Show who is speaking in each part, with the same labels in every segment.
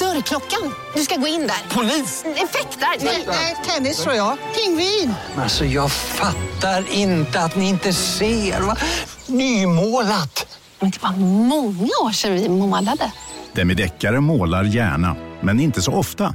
Speaker 1: Dörrklockan. Du ska gå in där. Polis? Effektar? Nej, nej, tennis tror jag. Pingvin.
Speaker 2: Alltså jag fattar inte att ni inte ser. Va? Nymålat!
Speaker 1: Men det var många år sedan vi målade.
Speaker 3: Demideckare målar gärna, men inte så ofta.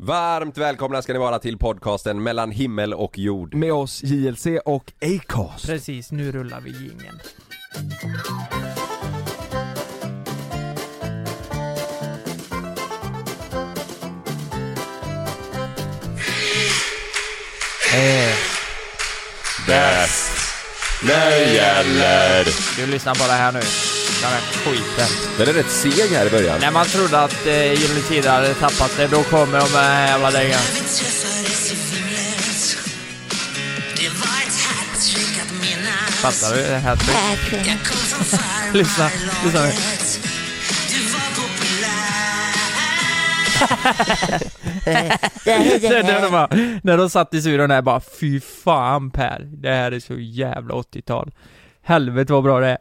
Speaker 4: Varmt välkomna ska ni vara till podcasten mellan himmel och jord.
Speaker 5: med oss JLC och Acast.
Speaker 6: Precis, nu rullar vi jingeln.
Speaker 4: När gäller...
Speaker 6: Du lyssnar på det här nu. Den här skiten.
Speaker 4: Den är rätt seg här i början.
Speaker 6: När man trodde att eh, Gyllene Tider hade tappat det, då kommer de här jävla dängan. Fattar du? Det här Lyssna, lyssna nu. Det där de bara, när de satt i studion där bara Fy fan Per, det här är så jävla 80-tal Helvete vad bra det är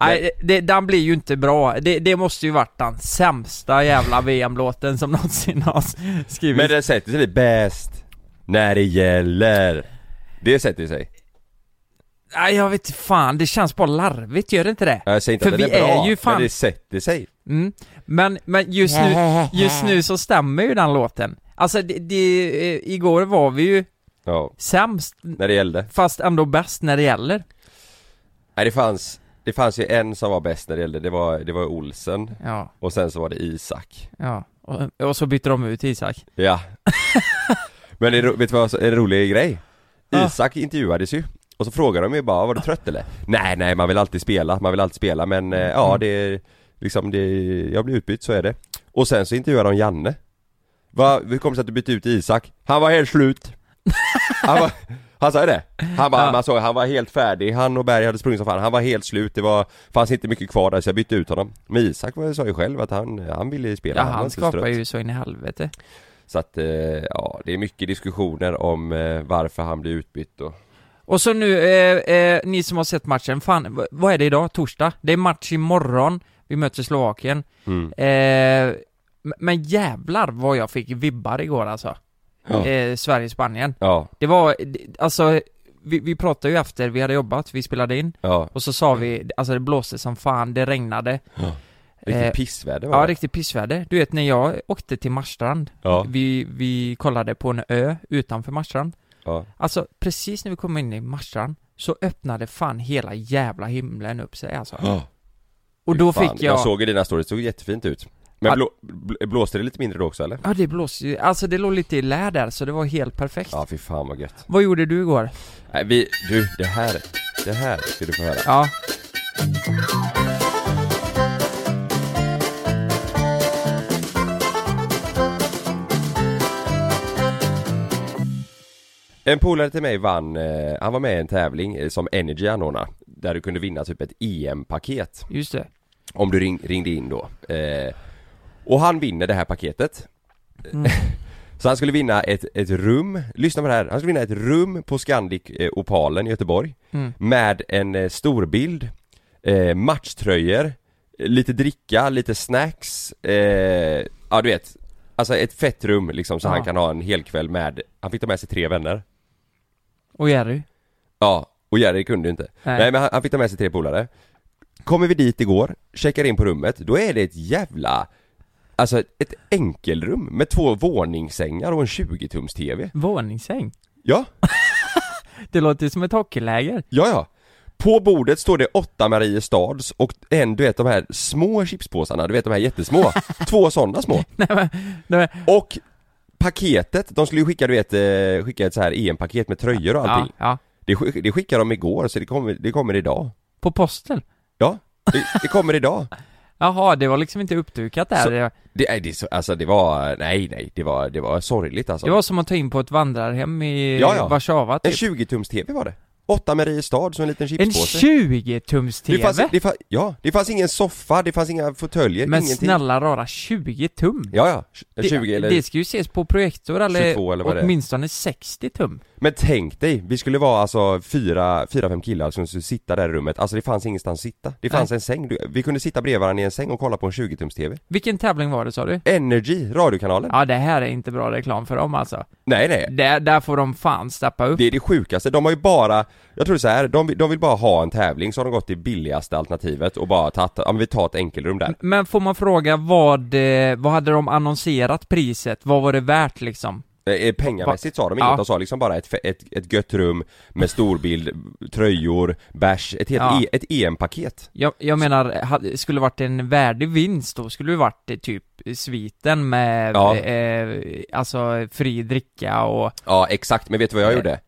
Speaker 6: Nej, det, den blir ju inte bra. Det, det måste ju varit den sämsta jävla VM-låten som någonsin har skrivits.
Speaker 4: Men den sätter sig bäst. När det gäller. Det sätter sig.
Speaker 6: Nej, jag vet fan, det känns bara larvigt, gör det inte det?
Speaker 4: Jag säger inte
Speaker 6: För
Speaker 4: att den
Speaker 6: vi
Speaker 4: är bra,
Speaker 6: är ju fan-
Speaker 4: men det sätter sig.
Speaker 6: Mm. Men, men just, nu, just nu så stämmer ju den låten. Alltså, det, det, eh, igår var vi ju
Speaker 4: Ja,
Speaker 6: sämst,
Speaker 4: när det gällde.
Speaker 6: fast ändå bäst när det gäller.
Speaker 4: Nej, det fanns, det fanns ju en som var bäst när det gällde. Det var, det var Olsen.
Speaker 6: Ja,
Speaker 4: Och sen så var det Isak.
Speaker 6: ja. Och, och så bytte de ut Isak.
Speaker 4: Ja. men det, är ro- vet du vad som är en rolig grej? Isak intervjuades ju. Och så frågade de ju bara, var du trött eller? Nej, nej, man vill alltid spela, man vill alltid spela men eh,
Speaker 6: Mm.
Speaker 4: ja det är liksom det, jag blir utbytt, så är det. Och sen så intervjuade de Janne. Va, hur kom det sig att du bytte ut Isak? Han var helt slut. Han, var, han sa det. Han, bara, man såg, han var helt färdig, han och Berg hade sprungit som fan, han var helt slut, det var, fanns inte mycket kvar där så jag bytte ut honom. Men Isak var- sa ju själv att han, han ville ju spela,
Speaker 6: Ja,
Speaker 4: var
Speaker 6: han
Speaker 4: inte så
Speaker 6: skapar
Speaker 4: trött.
Speaker 6: ju så in i helvete.
Speaker 4: Så att, eh, ja, det är mycket diskussioner om eh, varför han blir utbytt och...
Speaker 6: Och så nu, eh, eh, ni som har sett matchen, fan, v- vad är det idag? Torsdag? Det är match imorgon, vi möter Slovakien.
Speaker 4: Mm.
Speaker 6: Eh, m- men jävlar vad jag fick vibbar igår alltså.
Speaker 4: Ja.
Speaker 6: Eh, Sverige-Spanien.
Speaker 4: Ja,
Speaker 6: Det var, det- alltså, vi, vi pratade ju efter, vi hade jobbat, vi spelade in.
Speaker 4: ja.
Speaker 6: Och så sa vi, alltså det blåste som fan, det regnade.
Speaker 4: Riktigt
Speaker 6: Eh,
Speaker 4: pissväder var
Speaker 6: Ja,
Speaker 4: det.
Speaker 6: riktigt pissväder. Du vet när jag åkte till Marstrand,
Speaker 4: Ja,
Speaker 6: vi, vi kollade på en ö utanför Marstrand.
Speaker 4: ja.
Speaker 6: Alltså precis när vi kom in i Marstrand så öppnade fan hela jävla himlen upp sig alltså. Och då
Speaker 4: Fan,
Speaker 6: fick jag...
Speaker 4: såg ju dina stories, det såg jättefint ut. Men
Speaker 6: Ja.
Speaker 4: blå, bl- blåste det lite mindre då också eller?
Speaker 6: Ja det blåste ju, alltså det låg lite i lä där så det var helt perfekt.
Speaker 4: Ja, fy fan vad gött.
Speaker 6: Vad gjorde du igår?
Speaker 4: Nej, vi, du, det här, det här ska du få höra.
Speaker 6: Ja,
Speaker 4: En polare till mig vann, eh, han var med i en tävling eh, som Energy anordnar. Där du kunde vinna typ ett EM-paket.
Speaker 6: just det.
Speaker 4: Om du ring, ringde in då. Eh, och han vinner det här paketet. så han skulle vinna ett, ett rum, lyssna på det här, han skulle vinna ett rum på Scandic eh, Opalen i Göteborg. Med en eh, storbild, eh, matchtröjor, eh, lite dricka, lite snacks, eh, ja du vet. Alltså ett fett rum liksom så
Speaker 6: Ja.
Speaker 4: han kan ha en hel kväll med, han fick ta med sig tre vänner.
Speaker 6: Och Jerry?
Speaker 4: Ja, och Jerry kunde ju inte. Nej,
Speaker 6: Nej.
Speaker 4: men han, han fick ta med sig tre polare. Kommer vi dit igår, checkar in på rummet, då är det ett jävla Alltså ett enkelrum med två våningssängar och en 20-tums-TV.
Speaker 6: Våningssäng?
Speaker 4: Ja,
Speaker 6: Det låter ju som ett hockeyläger.
Speaker 4: ja, ja. På bordet står det åtta Mariestads och en, du vet de här små chipspåsarna, du vet de här jättesmå. Två sådana små.
Speaker 6: nej,
Speaker 4: Och paketet, de skulle ju skicka du vet, eh, skicka ett så här EM-paket med tröjor och
Speaker 6: ja,
Speaker 4: allting.
Speaker 6: ja.
Speaker 4: Det, skick- det skickade de igår, så det kommer, det kommer idag.
Speaker 6: På posten?
Speaker 4: Ja, det, det kommer idag.
Speaker 6: Jaha, det var liksom inte uppdukat där.
Speaker 4: Så-
Speaker 6: Det,
Speaker 4: Det, nej, det, är så- alltså det var, nej nej, det var, det var sorgligt alltså.
Speaker 6: det var som att ta in på ett vandrarhem i
Speaker 4: Ja, ja.
Speaker 6: Warszawa
Speaker 4: En
Speaker 6: typ.
Speaker 4: 20-tums-TV var det. Åtta Mariestad som en liten
Speaker 6: En
Speaker 4: chipspåse.
Speaker 6: 20-tums-TV?
Speaker 4: det fanns, det fanns, ja, det fanns ingen soffa, det fanns inga fåtöljer,
Speaker 6: Men
Speaker 4: Eh, ingenting.
Speaker 6: snälla rara, 20 tum?
Speaker 4: Ja, ja, tj-
Speaker 6: Det-
Speaker 4: 20 eller
Speaker 6: Det ska ju ses på projektor eller,
Speaker 4: 22 eller vad det är.
Speaker 6: åtminstone 60 tum.
Speaker 4: Men tänk dig, vi skulle vara alltså fyra, fyra fem killar som skulle sitta där i rummet, alltså det fanns ingenstans att sitta. Det fanns en säng, Du- vi kunde sitta bredvid varandra i en säng och kolla på en 20-tums-TV.
Speaker 6: Vilken tävling var det sa du?
Speaker 4: Energy, radiokanalen.
Speaker 6: Ja, det här är inte bra reklam för dem alltså.
Speaker 4: Nej nej,
Speaker 6: Där, där får de fan steppa upp.
Speaker 4: det är det sjukaste. De har ju bara, jag tror så här, de, vill- de vill bara ha en tävling så har de gått till billigaste alternativet och bara tagit, ja men vi tar ett enkelrum där.
Speaker 6: Men får man fråga vad, eh, vad hade de annonserat priset? Vad var det värt liksom?
Speaker 4: Eh, eh, Pengamässigt sa de inget,
Speaker 6: Ja.
Speaker 4: de sa liksom bara ett, fe- ett, ett gött rum med storbild, tröjor, bärs, ett, helt
Speaker 6: Ja.
Speaker 4: e, ett EM-paket.
Speaker 6: Jag, jag menar, hade, skulle det varit en värdig vinst då skulle det varit eh, typ sviten med,
Speaker 4: Ja.
Speaker 6: eh, alltså fri dricka och...
Speaker 4: Ja exakt, men vet du vad jag
Speaker 6: Eh.
Speaker 4: gjorde?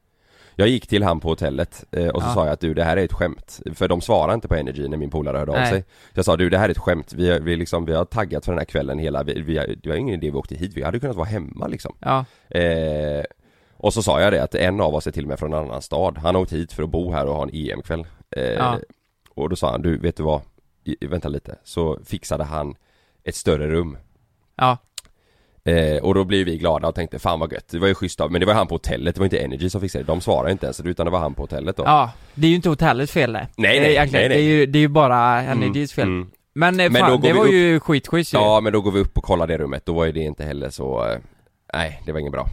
Speaker 4: Jag gick till han på hotellet eh, och så
Speaker 6: Ja.
Speaker 4: sa jag att du det här är ett skämt, för de svarar inte på Energy när min polare hörde av
Speaker 6: Nej.
Speaker 4: sig Så Jag sa du det här är ett skämt, vi, har- vi, liksom, vi har taggat för den här kvällen hela, vi, vi, har- det var ingen idé vi åkte hit, vi hade kunnat vara hemma liksom
Speaker 6: Ja,
Speaker 4: eh, Och så sa jag det att en av oss är till och med från en annan stad, han har åkt hit för att bo här och ha en EM-kväll eh,
Speaker 6: Ja.
Speaker 4: Och då sa han, du vet du vad, I, vänta lite, så fixade han ett större rum
Speaker 6: ja,
Speaker 4: Eh, och då blev vi glada och tänkte fan vad gött, det var ju schysst av, men det var han på hotellet, det var inte Energy som fixade det, de svarade inte ens utan det var han på hotellet då
Speaker 6: ja. Det är ju inte hotellets fel det.
Speaker 4: Nej, nej,
Speaker 6: Eh, egentligen.
Speaker 4: nej, nej.
Speaker 6: Det är ju, det är ju bara Energys fel.
Speaker 4: mm.
Speaker 6: Men, eh,
Speaker 4: Men
Speaker 6: fan,
Speaker 4: då går
Speaker 6: det
Speaker 4: vi
Speaker 6: var
Speaker 4: upp-
Speaker 6: ju skitschysst ju.
Speaker 4: Ja men då går vi upp och kollar det rummet, då var ju det inte heller så, eh, nej det var inget bra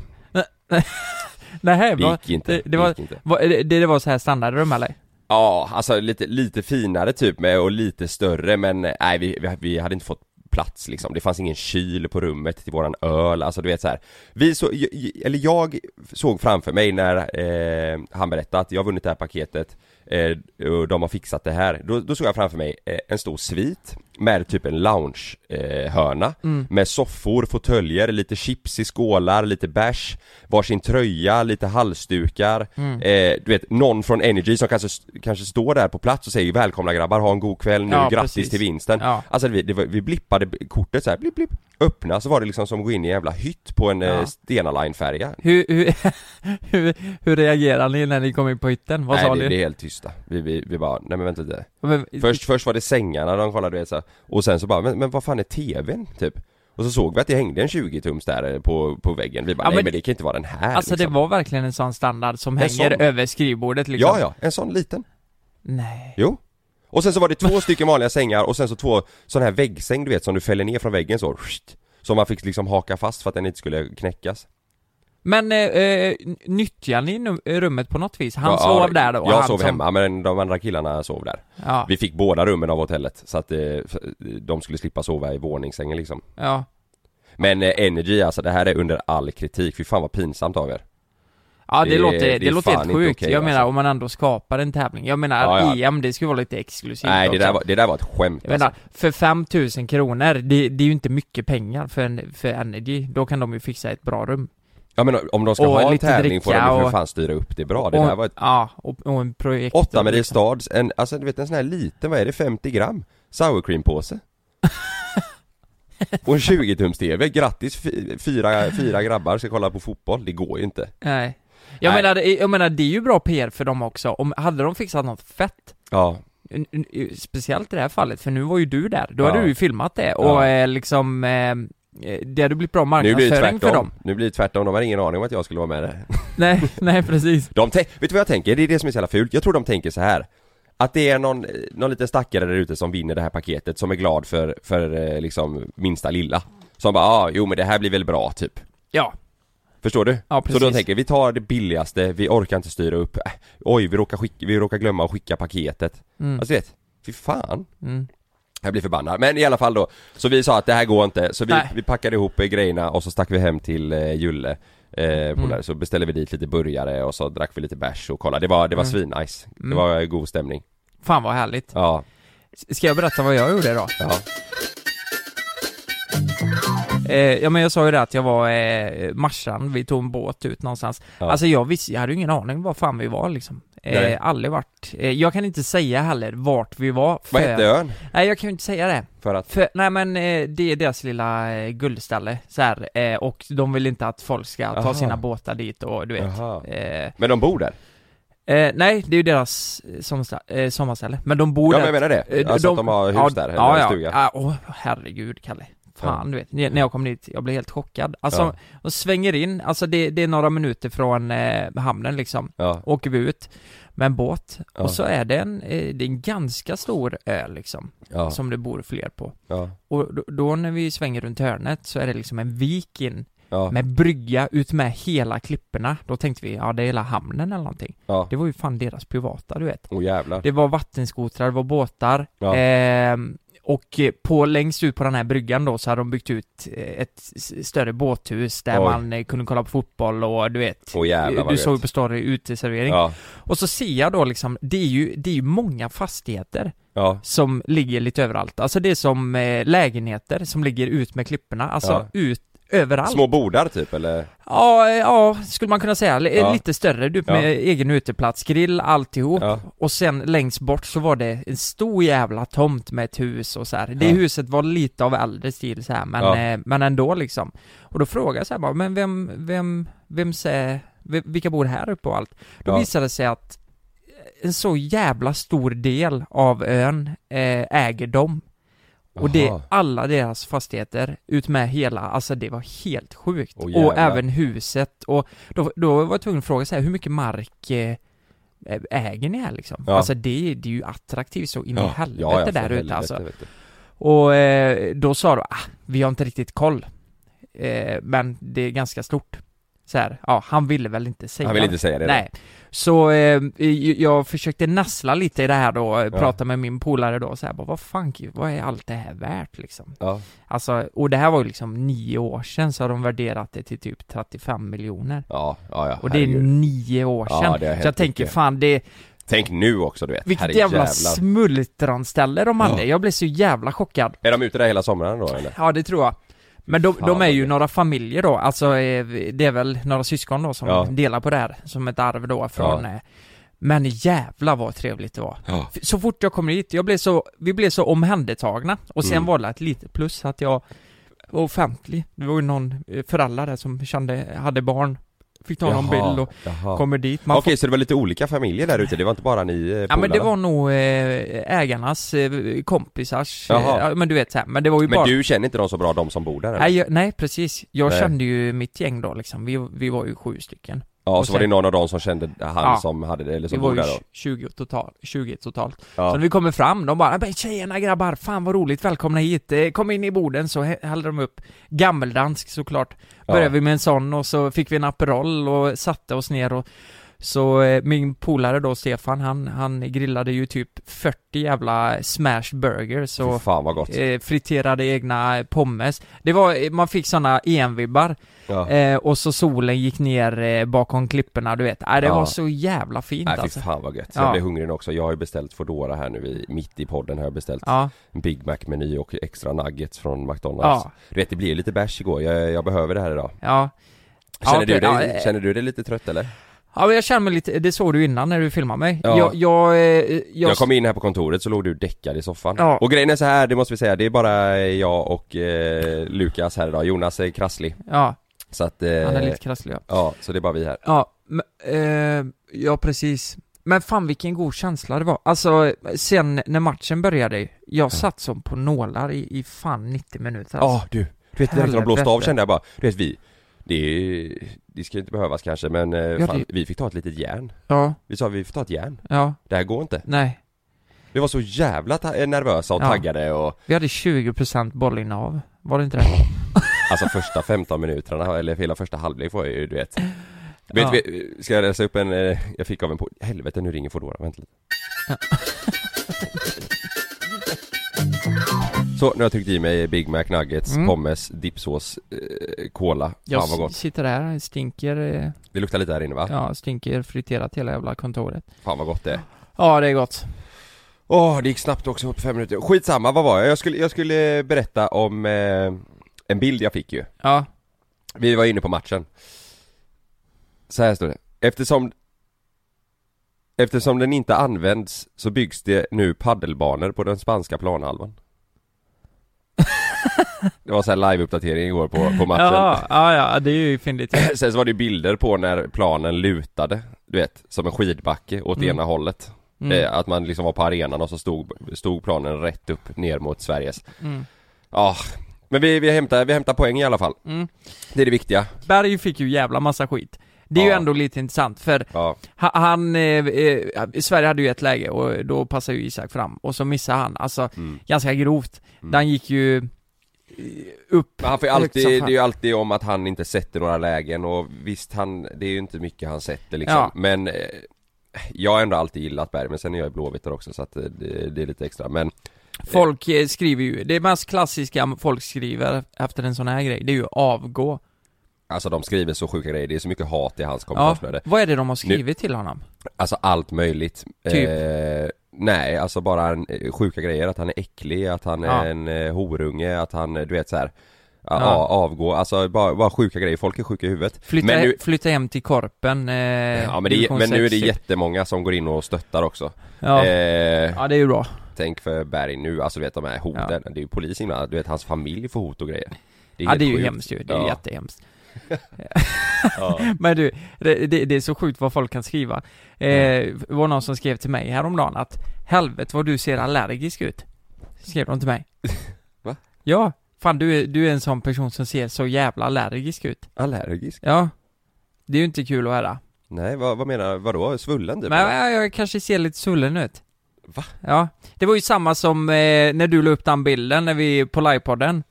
Speaker 6: Nej,
Speaker 4: Det
Speaker 6: vad-
Speaker 4: gick inte,
Speaker 6: det, det, var,
Speaker 4: gick inte
Speaker 6: vad- eh, det, det var så här standardrum eller?
Speaker 4: Ja, alltså lite, lite finare typ med och lite större men eh, nej vi, vi, vi hade inte fått plats liksom. Det fanns ingen kyl på rummet till våran öl, alltså du vet så här. Vi så, j- j- eller jag såg framför mig när eh, han berättade att jag har vunnit det här paketet eh, och de har fixat det här. Då, då såg jag framför mig eh, en stor svit med typ en loungehörna eh, hörna.
Speaker 6: Mm.
Speaker 4: med soffor, fåtöljer, lite chips i skålar, lite bärs, varsin tröja, lite halsdukar.
Speaker 6: Mm.
Speaker 4: Eh, du vet, någon från Energy som kanske, kanske står där på plats och säger välkomna grabbar, ha en god kväll nu,
Speaker 6: Ja,
Speaker 4: grattis
Speaker 6: precis.
Speaker 4: till vinsten.
Speaker 6: Ja.
Speaker 4: Alltså vi, det var, vi blippade b- kortet så här, blipp, blipp, öppna så var det liksom som att gå in i en jävla hytt på en
Speaker 6: Ja.
Speaker 4: ja. Stena Line-färja.
Speaker 6: Hur, hur, hur, hur reagerade ni när ni kom in på hytten? Vad
Speaker 4: Nej
Speaker 6: sa
Speaker 4: det, det är
Speaker 6: ni?
Speaker 4: helt tysta. Vi, vi, vi bara, nej men vänta lite.
Speaker 6: Men-
Speaker 4: Först, först var det sängarna de kollade du vet, så här. och sen så bara, men, men vad fan är tvn typ? Och så såg vi att det hängde en 20-tums där eh, på, på väggen, vi bara
Speaker 6: Ja,
Speaker 4: nej
Speaker 6: men-
Speaker 4: men det kan inte vara den här
Speaker 6: Alltså
Speaker 4: liksom.
Speaker 6: det var verkligen en sån standard som
Speaker 4: En
Speaker 6: hänger
Speaker 4: sån.
Speaker 6: över skrivbordet liksom?
Speaker 4: Ja ja, en sån liten,
Speaker 6: Nej.
Speaker 4: jo Och sen så var det två stycken vanliga sängar och sen så två sån här väggsäng du vet som du fäller ner från väggen så skjt, Som man fick liksom haka fast för att den inte skulle knäckas
Speaker 6: Men eh, eh, n- nyttjar ni nu- rummet på något vis? Han
Speaker 4: Ja,
Speaker 6: sov
Speaker 4: ja,
Speaker 6: där då? och
Speaker 4: Jag
Speaker 6: han
Speaker 4: sov
Speaker 6: som-
Speaker 4: hemma men de andra killarna sov där
Speaker 6: Ja,
Speaker 4: Vi fick båda rummen av hotellet så att eh, f- de skulle slippa sova i våningssängen liksom
Speaker 6: ja.
Speaker 4: Men eh, Energy alltså, det här är under all kritik, fy fan vad pinsamt av er
Speaker 6: ja det,
Speaker 4: Det är-
Speaker 6: låter,
Speaker 4: det
Speaker 6: det
Speaker 4: är
Speaker 6: låter
Speaker 4: fan
Speaker 6: helt
Speaker 4: inte
Speaker 6: sjukt.
Speaker 4: okej,
Speaker 6: jag menar
Speaker 4: alltså.
Speaker 6: om man ändå skapar en tävling. Jag menar
Speaker 4: Ja, ja.
Speaker 6: EM, det ska ju vara lite exklusivt
Speaker 4: Nej det
Speaker 6: också.
Speaker 4: där, var, det där var ett skämt
Speaker 6: Jag
Speaker 4: alltså.
Speaker 6: menar, för 5000 kronor, det, det är ju inte mycket pengar för, en, för Energy. Då kan de ju fixa ett bra rum.
Speaker 4: Ja men om de ska
Speaker 6: Och
Speaker 4: ha en
Speaker 6: lite
Speaker 4: tävling får de
Speaker 6: dricka
Speaker 4: ju för
Speaker 6: och-
Speaker 4: fan styra upp det bra, det
Speaker 6: och,
Speaker 4: där var ett
Speaker 6: Ja, och, och en projekt.
Speaker 4: Åtta Mariestads, en, alltså du vet en sån här liten, vad är det, 50 gram? Sour cream påse Och en 20-tums-TV, grattis fy- fyra, fyra grabbar ska kolla på fotboll, det går ju inte
Speaker 6: Nej. Jag,
Speaker 4: Nej.
Speaker 6: Menar, det- jag menar, det är ju bra PR för dem också. Om, hade de fixat något fett,
Speaker 4: Ja,
Speaker 6: n- n- speciellt i det här fallet, för nu var ju du där, då
Speaker 4: Ja.
Speaker 6: hade du ju filmat det och
Speaker 4: Ja.
Speaker 6: eh, liksom, eh, det hade blivit bra
Speaker 4: nu blir det
Speaker 6: marknadsföring för
Speaker 4: tvärtom,
Speaker 6: dem.
Speaker 4: nu blir det tvärtom, de har ingen aning om att jag skulle vara med där
Speaker 6: Nej, nej precis.
Speaker 4: De tän- vet du vad jag tänker? Det är det som är så jävla fult. Jag tror de tänker så här. Att det är någon, eh, någon liten stackare där ute som vinner det här paketet som är glad för, för eh, liksom minsta lilla. Som bara, ah, jo men det här blir väl bra typ.
Speaker 6: Ja,
Speaker 4: Förstår du?
Speaker 6: Ja,
Speaker 4: så
Speaker 6: precis.
Speaker 4: de tänker, vi tar det billigaste, vi orkar inte styra upp, äh, oj vi råkar, skicka, vi råkar glömma att skicka paketet.
Speaker 6: Mm.
Speaker 4: Alltså du vet, fy fan.
Speaker 6: Mm.
Speaker 4: Jag blir förbannad, men i alla fall då Så vi sa att det här går inte, så vi,
Speaker 6: Nej.
Speaker 4: vi packade ihop eh, grejerna och så stack vi hem till eh, Julle Eh, polare.
Speaker 6: Mm.
Speaker 4: Så beställde vi dit lite burgare och så drack vi lite bärs och kollade. Det var, det var
Speaker 6: Mm.
Speaker 4: svinnice. Det
Speaker 6: Mm.
Speaker 4: var eh, god stämning.
Speaker 6: Fan vad härligt.
Speaker 4: Ja,
Speaker 6: S- Ska jag berätta vad jag gjorde då?
Speaker 4: ja.
Speaker 6: Eh, ja men jag sa ju det att jag var eh, Marsan, vi tog en båt ut någonstans.
Speaker 4: Ja.
Speaker 6: Alltså jag visste, jag hade ju ingen aning var fan vi var liksom.
Speaker 4: Nej.
Speaker 6: Eh, aldrig vart. Eh, jag kan inte säga heller vart vi var. För,
Speaker 4: Vad hette ön?
Speaker 6: Nej jag kan ju inte säga det.
Speaker 4: För att...
Speaker 6: För, nej men eh, det är deras lilla eh, guldställe så här, eh, och de vill inte att folk ska
Speaker 4: Aha.
Speaker 6: ta sina båtar dit och du vet.
Speaker 4: Jaha.
Speaker 6: Eh,
Speaker 4: Men de bor där?
Speaker 6: eh, nej, det är ju deras eh, sommarsta- eh, sommarställe. Men de bor
Speaker 4: Ja
Speaker 6: där
Speaker 4: men jag menar det.
Speaker 6: Eh,
Speaker 4: Alltså att de har hus
Speaker 6: ja,
Speaker 4: där, eller
Speaker 6: ja, ja.
Speaker 4: stuga.
Speaker 6: Ja, åh, herregud Kalle. Fan du vet, när jag kom dit, jag blev helt chockad. Alltså,
Speaker 4: Ja.
Speaker 6: de svänger in, alltså det, det är några minuter från eh, hamnen liksom.
Speaker 4: Ja.
Speaker 6: Åker vi ut med en båt,
Speaker 4: Ja.
Speaker 6: och så är det en, eh, det är en ganska stor ö liksom,
Speaker 4: Ja.
Speaker 6: som det bor fler på.
Speaker 4: Ja.
Speaker 6: Och då, då när vi svänger runt hörnet så är det liksom en vik in,
Speaker 4: Ja.
Speaker 6: med brygga ut med hela klipporna. Då tänkte vi, ja det är hela hamnen eller någonting.
Speaker 4: Ja.
Speaker 6: Det var ju fan deras privata du vet.
Speaker 4: Åh jävlar.
Speaker 6: Det var vattenskotrar, det var båtar
Speaker 4: Ja.
Speaker 6: ehm, Och eh, på, längst ut på den här bryggan då så hade de byggt ut eh, ett s- större båthus där
Speaker 4: Oj.
Speaker 6: man eh, kunde kolla på fotboll och du vet
Speaker 4: Åh jävlar vad
Speaker 6: Du
Speaker 4: gött.
Speaker 6: såg ju på story uteservering
Speaker 4: Ja.
Speaker 6: Och så ser jag då liksom, det är ju, det är ju många fastigheter
Speaker 4: Ja.
Speaker 6: som ligger lite överallt Alltså det är som eh, lägenheter som ligger ut med klipporna, alltså
Speaker 4: Ja.
Speaker 6: ut Överallt?
Speaker 4: Små bordar typ eller?
Speaker 6: Ja, eh, ja, skulle man kunna säga. L- eh,
Speaker 4: Ja.
Speaker 6: Lite större, du
Speaker 4: Ja.
Speaker 6: med egen uteplats, grill, alltihop.
Speaker 4: Ja.
Speaker 6: Och sen längst bort så var det en stor jävla tomt med ett hus och så här. Det
Speaker 4: Ja.
Speaker 6: huset var lite av äldre stil så här, men,
Speaker 4: Ja.
Speaker 6: eh, men ändå liksom. Och då frågade jag så här bara, men vem, vem, vem ser, vi- vilka bor här uppe och allt? Då
Speaker 4: Ja.
Speaker 6: visade det sig att eh, en så jävla stor del av ön eh, äger de. Och det,
Speaker 4: Jaha.
Speaker 6: alla deras fastigheter, utmed hela, alltså det var helt sjukt.
Speaker 4: Åh,
Speaker 6: och
Speaker 4: jävlar.
Speaker 6: även huset, och då, då var jag tvungen att fråga så här, hur mycket mark eh, äger ni här liksom?
Speaker 4: Ja.
Speaker 6: Alltså det, det är ju attraktivt så in i helvete
Speaker 4: Ja, ja, för
Speaker 6: där ute
Speaker 4: helvete,
Speaker 6: alltså.
Speaker 4: vet du.
Speaker 6: Och eh, då sa de, ah, vi har inte riktigt koll. Eh, men det är ganska stort. Så här, ja, han ville väl inte säga
Speaker 4: Han vill inte säga det då.
Speaker 6: Nej. Så eh, j- jag försökte nassla lite i det här då, eh, prata med min polare då så här, bara, vad fan, vad är allt det här värt liksom?
Speaker 4: Ja.
Speaker 6: Alltså, och det här var ju liksom nio år sedan så har de värderat det till typ 35 miljoner.
Speaker 4: Ja, ja, ja.
Speaker 6: Och det är
Speaker 4: herregud.
Speaker 6: nio år
Speaker 4: Ja,
Speaker 6: sedan.
Speaker 4: det har hänt
Speaker 6: så jag tänker
Speaker 4: mycket.
Speaker 6: fan det,
Speaker 4: Tänk nu också du vet.
Speaker 6: vilket
Speaker 4: Herrejävlar.
Speaker 6: jävla smultranställe de hade.
Speaker 4: Ja.
Speaker 6: Jag blev så jävla chockad.
Speaker 4: Är de ute där hela sommaren då eller?
Speaker 6: Ja, det tror jag. Men de,
Speaker 4: Fan,
Speaker 6: de är ju
Speaker 4: vad det-
Speaker 6: några familjer då, alltså eh, det är väl några syskon då som
Speaker 4: Ja.
Speaker 6: delar på det här, som ett arv då från...
Speaker 4: Ja.
Speaker 6: eh, Men jävla vad trevligt det var.
Speaker 4: Ja.
Speaker 6: F- Så fort jag kom dit, jag blev så, vi blev så omhändertagna. Och sen
Speaker 4: Mm.
Speaker 6: var det ett litet plus att jag var offentlig. Det var ju någon eh, förälder där som kände, hade barn, fick ta någon bild och
Speaker 4: Jaha.
Speaker 6: kommer dit. Man
Speaker 4: Okej,
Speaker 6: får-
Speaker 4: så det var lite olika familjer där ute? Det var inte bara ni eh,
Speaker 6: Ja men det
Speaker 4: polarna?
Speaker 6: var nog eh, ägarnas eh, kompisars, eh,
Speaker 4: Jaha.
Speaker 6: ja, men du vet så här, men det var ju
Speaker 4: Men
Speaker 6: bara
Speaker 4: du känner inte de så bra, de som bor där? eller?
Speaker 6: Nej, jag, nej precis. Jag
Speaker 4: Nej.
Speaker 6: kände ju mitt gäng då liksom, vi, vi var ju sju stycken.
Speaker 4: Ja,
Speaker 6: och
Speaker 4: så var det
Speaker 6: sen-
Speaker 4: någon av dem som kände han
Speaker 6: Ja.
Speaker 4: som hade det, eller
Speaker 6: Vi
Speaker 4: som
Speaker 6: var
Speaker 4: bor
Speaker 6: ju
Speaker 4: där då?
Speaker 6: 20 totalt, 20 totalt.
Speaker 4: Ja.
Speaker 6: Så när vi kommer fram, de bara "Men 'Tjejerna grabbar, fan vad roligt, välkomna hit, Eh, kom in i borden' så hä- hällde de upp gammeldansk såklart.
Speaker 4: Ja.
Speaker 6: Började vi med en sån och så fick vi en Aperol och satte oss ner och så eh, min polare då, Stefan, han, han grillade ju typ 40 jävla smash burgers
Speaker 4: Fy
Speaker 6: och
Speaker 4: fan alltså. vad gott.
Speaker 6: eh, friterade egna pommes. Det var, man fick såna EM-vibbar.
Speaker 4: Ja.
Speaker 6: Eh, och så solen gick ner eh, bakom klipporna, du vet. Äh, det
Speaker 4: Ja.
Speaker 6: var så jävla fint
Speaker 4: Nej fy
Speaker 6: alltså.
Speaker 4: fan vad gött.
Speaker 6: Ja.
Speaker 4: Jag blir hungrig nu också. Jag har ju beställt Foodora här nu i, mitt i podden har jag beställt
Speaker 6: Ja,
Speaker 4: en Big Mac-meny och extra nuggets från McDonalds.
Speaker 6: ja,
Speaker 4: Du vet det blir ju lite bärs igår, jag, jag behöver det här idag.
Speaker 6: ja.
Speaker 4: Känner,
Speaker 6: Ja, okej,
Speaker 4: du dig,
Speaker 6: ja, eh.
Speaker 4: känner du dig lite trött eller?
Speaker 6: Ja, men jag känner mig lite, det såg du innan när du filmade mig.
Speaker 4: Ja.
Speaker 6: Jag, jag, eh, jag,
Speaker 4: Jag kom in här på kontoret så låg du däckad i soffan.
Speaker 6: Ja.
Speaker 4: Och grejen är så här, det måste vi säga, det är bara jag och eh, Lukas här idag. Jonas är krasslig.
Speaker 6: Ja,
Speaker 4: Så att,
Speaker 6: han är
Speaker 4: eh,
Speaker 6: lite krasslig ja.
Speaker 4: ja, så det är bara vi här.
Speaker 6: Ja, men, eh, ja precis. Men fan vilken god känsla det var. Alltså, sen när matchen började, jag satt som på nålar i, i fan 90 minuter
Speaker 4: Ja
Speaker 6: alltså.
Speaker 4: du, du vet direkt när de blåste av
Speaker 6: Helvete.
Speaker 4: kände jag bara, du vet vi, det, är- det ska ju inte behövas kanske men eh,
Speaker 6: det-
Speaker 4: fan, vi fick ta ett litet järn.
Speaker 6: Ja,
Speaker 4: Vi sa vi får ta ett järn,
Speaker 6: ja,
Speaker 4: det här går inte.
Speaker 6: nej.
Speaker 4: Vi var så jävla ta- nervösa och
Speaker 6: Ja.
Speaker 4: taggade och
Speaker 6: Vi hade 20% bollinnehav, var det inte det?
Speaker 4: alltså första 15 minuterna eller hela första halvlek var ju du vet.
Speaker 6: Ja.
Speaker 4: Vet vi, ska jag läsa upp en, eh, jag fick av en på, helvete nu ringer Foodora, vänta lite. Så, nu har jag tryckt i mig Big Mac nuggets,
Speaker 6: Mm.
Speaker 4: pommes, dippsås, eh, cola.
Speaker 6: Jag
Speaker 4: Fan vad gott.
Speaker 6: s- sitter här, stinker, eh,
Speaker 4: Det luktar lite här inne va?
Speaker 6: ja, stinker friterat hela jävla kontoret.
Speaker 4: Fan vad gott det är.
Speaker 6: Ja, det är gott.
Speaker 4: Åh, det gick snabbt också på fem minuter. Skitsamma, vad var jag? Jag skulle, jag skulle berätta om eh, en bild jag fick ju.
Speaker 6: Ja,
Speaker 4: Vi var inne på matchen. Så här står det. Eftersom Eftersom den inte används så byggs det nu paddelbanor på den spanska planhalvan. det var så här liveuppdatering igår på, på matchen.
Speaker 6: ja, ja, ja det är ju fyndigt.
Speaker 4: Sen så var det ju bilder på när planen lutade, du vet, som en skidbacke åt
Speaker 6: Mm.
Speaker 4: ena hållet.
Speaker 6: Mm,
Speaker 4: Eh, att man liksom var på arenan och så stod, stod planen rätt upp ner mot Sveriges.
Speaker 6: mm,
Speaker 4: Ja, men vi, vi, hämtar, vi hämtar poäng i alla fall.
Speaker 6: mm.
Speaker 4: Det är det viktiga.
Speaker 6: Berg fick ju jävla massa skit. Det är ju
Speaker 4: Ja.
Speaker 6: ändå lite intressant för
Speaker 4: Ja,
Speaker 6: ha- han, eh, eh, Sverige hade ju ett läge och då passade ju Isak fram och så missade han, alltså
Speaker 4: mm.
Speaker 6: ganska grovt.
Speaker 4: Mm.
Speaker 6: Den gick ju eh, upp
Speaker 4: Men han får ju
Speaker 6: högt
Speaker 4: alltid,
Speaker 6: som
Speaker 4: det är
Speaker 6: fan.
Speaker 4: ju alltid om att han inte sätter några lägen och visst han, det är ju inte mycket han sätter liksom.
Speaker 6: Ja.
Speaker 4: Men eh, jag har ändå alltid gillat Berg, men sen är jag i Blåvitt där också så att eh, det, det är lite extra. Men
Speaker 6: Folk eh, skriver ju, det mest klassiska folk skriver efter en sån här grej, det är ju avgå.
Speaker 4: alltså de skriver så sjuka grejer, det är så mycket hat i hans kommentarsflöde.
Speaker 6: Vad är det de har skrivit till honom?
Speaker 4: Alltså allt möjligt.
Speaker 6: Typ?
Speaker 4: Eh, nej, alltså bara en, eh, sjuka grejer. Att han är äcklig, att han är
Speaker 6: Ja.
Speaker 4: en eh, horunge, att han, eh, du vet så här. Ja.
Speaker 6: Ja.
Speaker 4: a- avgå, alltså bara, bara sjuka grejer. Folk är sjuka i huvudet.
Speaker 6: Flytta,
Speaker 4: men nu,
Speaker 6: flytta hem till korpen, eh,
Speaker 4: ja, men, det,
Speaker 6: division typ.
Speaker 4: men nu är det
Speaker 6: 60.
Speaker 4: jättemånga som går in och stöttar också.
Speaker 6: ja.
Speaker 4: Eh,
Speaker 6: ja, det är ju bra.
Speaker 4: Tänk för Berg nu, alltså du vet de här hoten. Det är ju polisen ibland, du vet hans familj får hot och grejer. Det
Speaker 6: Ja,
Speaker 4: helt
Speaker 6: det är ju
Speaker 4: sjukt.
Speaker 6: hemskt ju, det är
Speaker 4: Ja.
Speaker 6: jättehemskt.
Speaker 4: Ja.
Speaker 6: Men du, det, det, det är så sjukt vad folk kan skriva. Eh, det var någon som skrev till mig häromdagen att helvete vad du ser allergisk ut. Skrev de till mig.
Speaker 4: Va?
Speaker 6: Ja, fan du, är- du är en sån person som ser så jävla allergisk ut.
Speaker 4: Allergisk?
Speaker 6: Ja. Det är ju inte kul att höra.
Speaker 4: Nej, vad, vad menar, vadå? Svullen typ?
Speaker 6: Men
Speaker 4: eller?
Speaker 6: jag, jag kanske ser lite svullen ut.
Speaker 4: Va?
Speaker 6: Ja. Det var ju samma som eh, när du la upp den bilden när vi, på livepodden.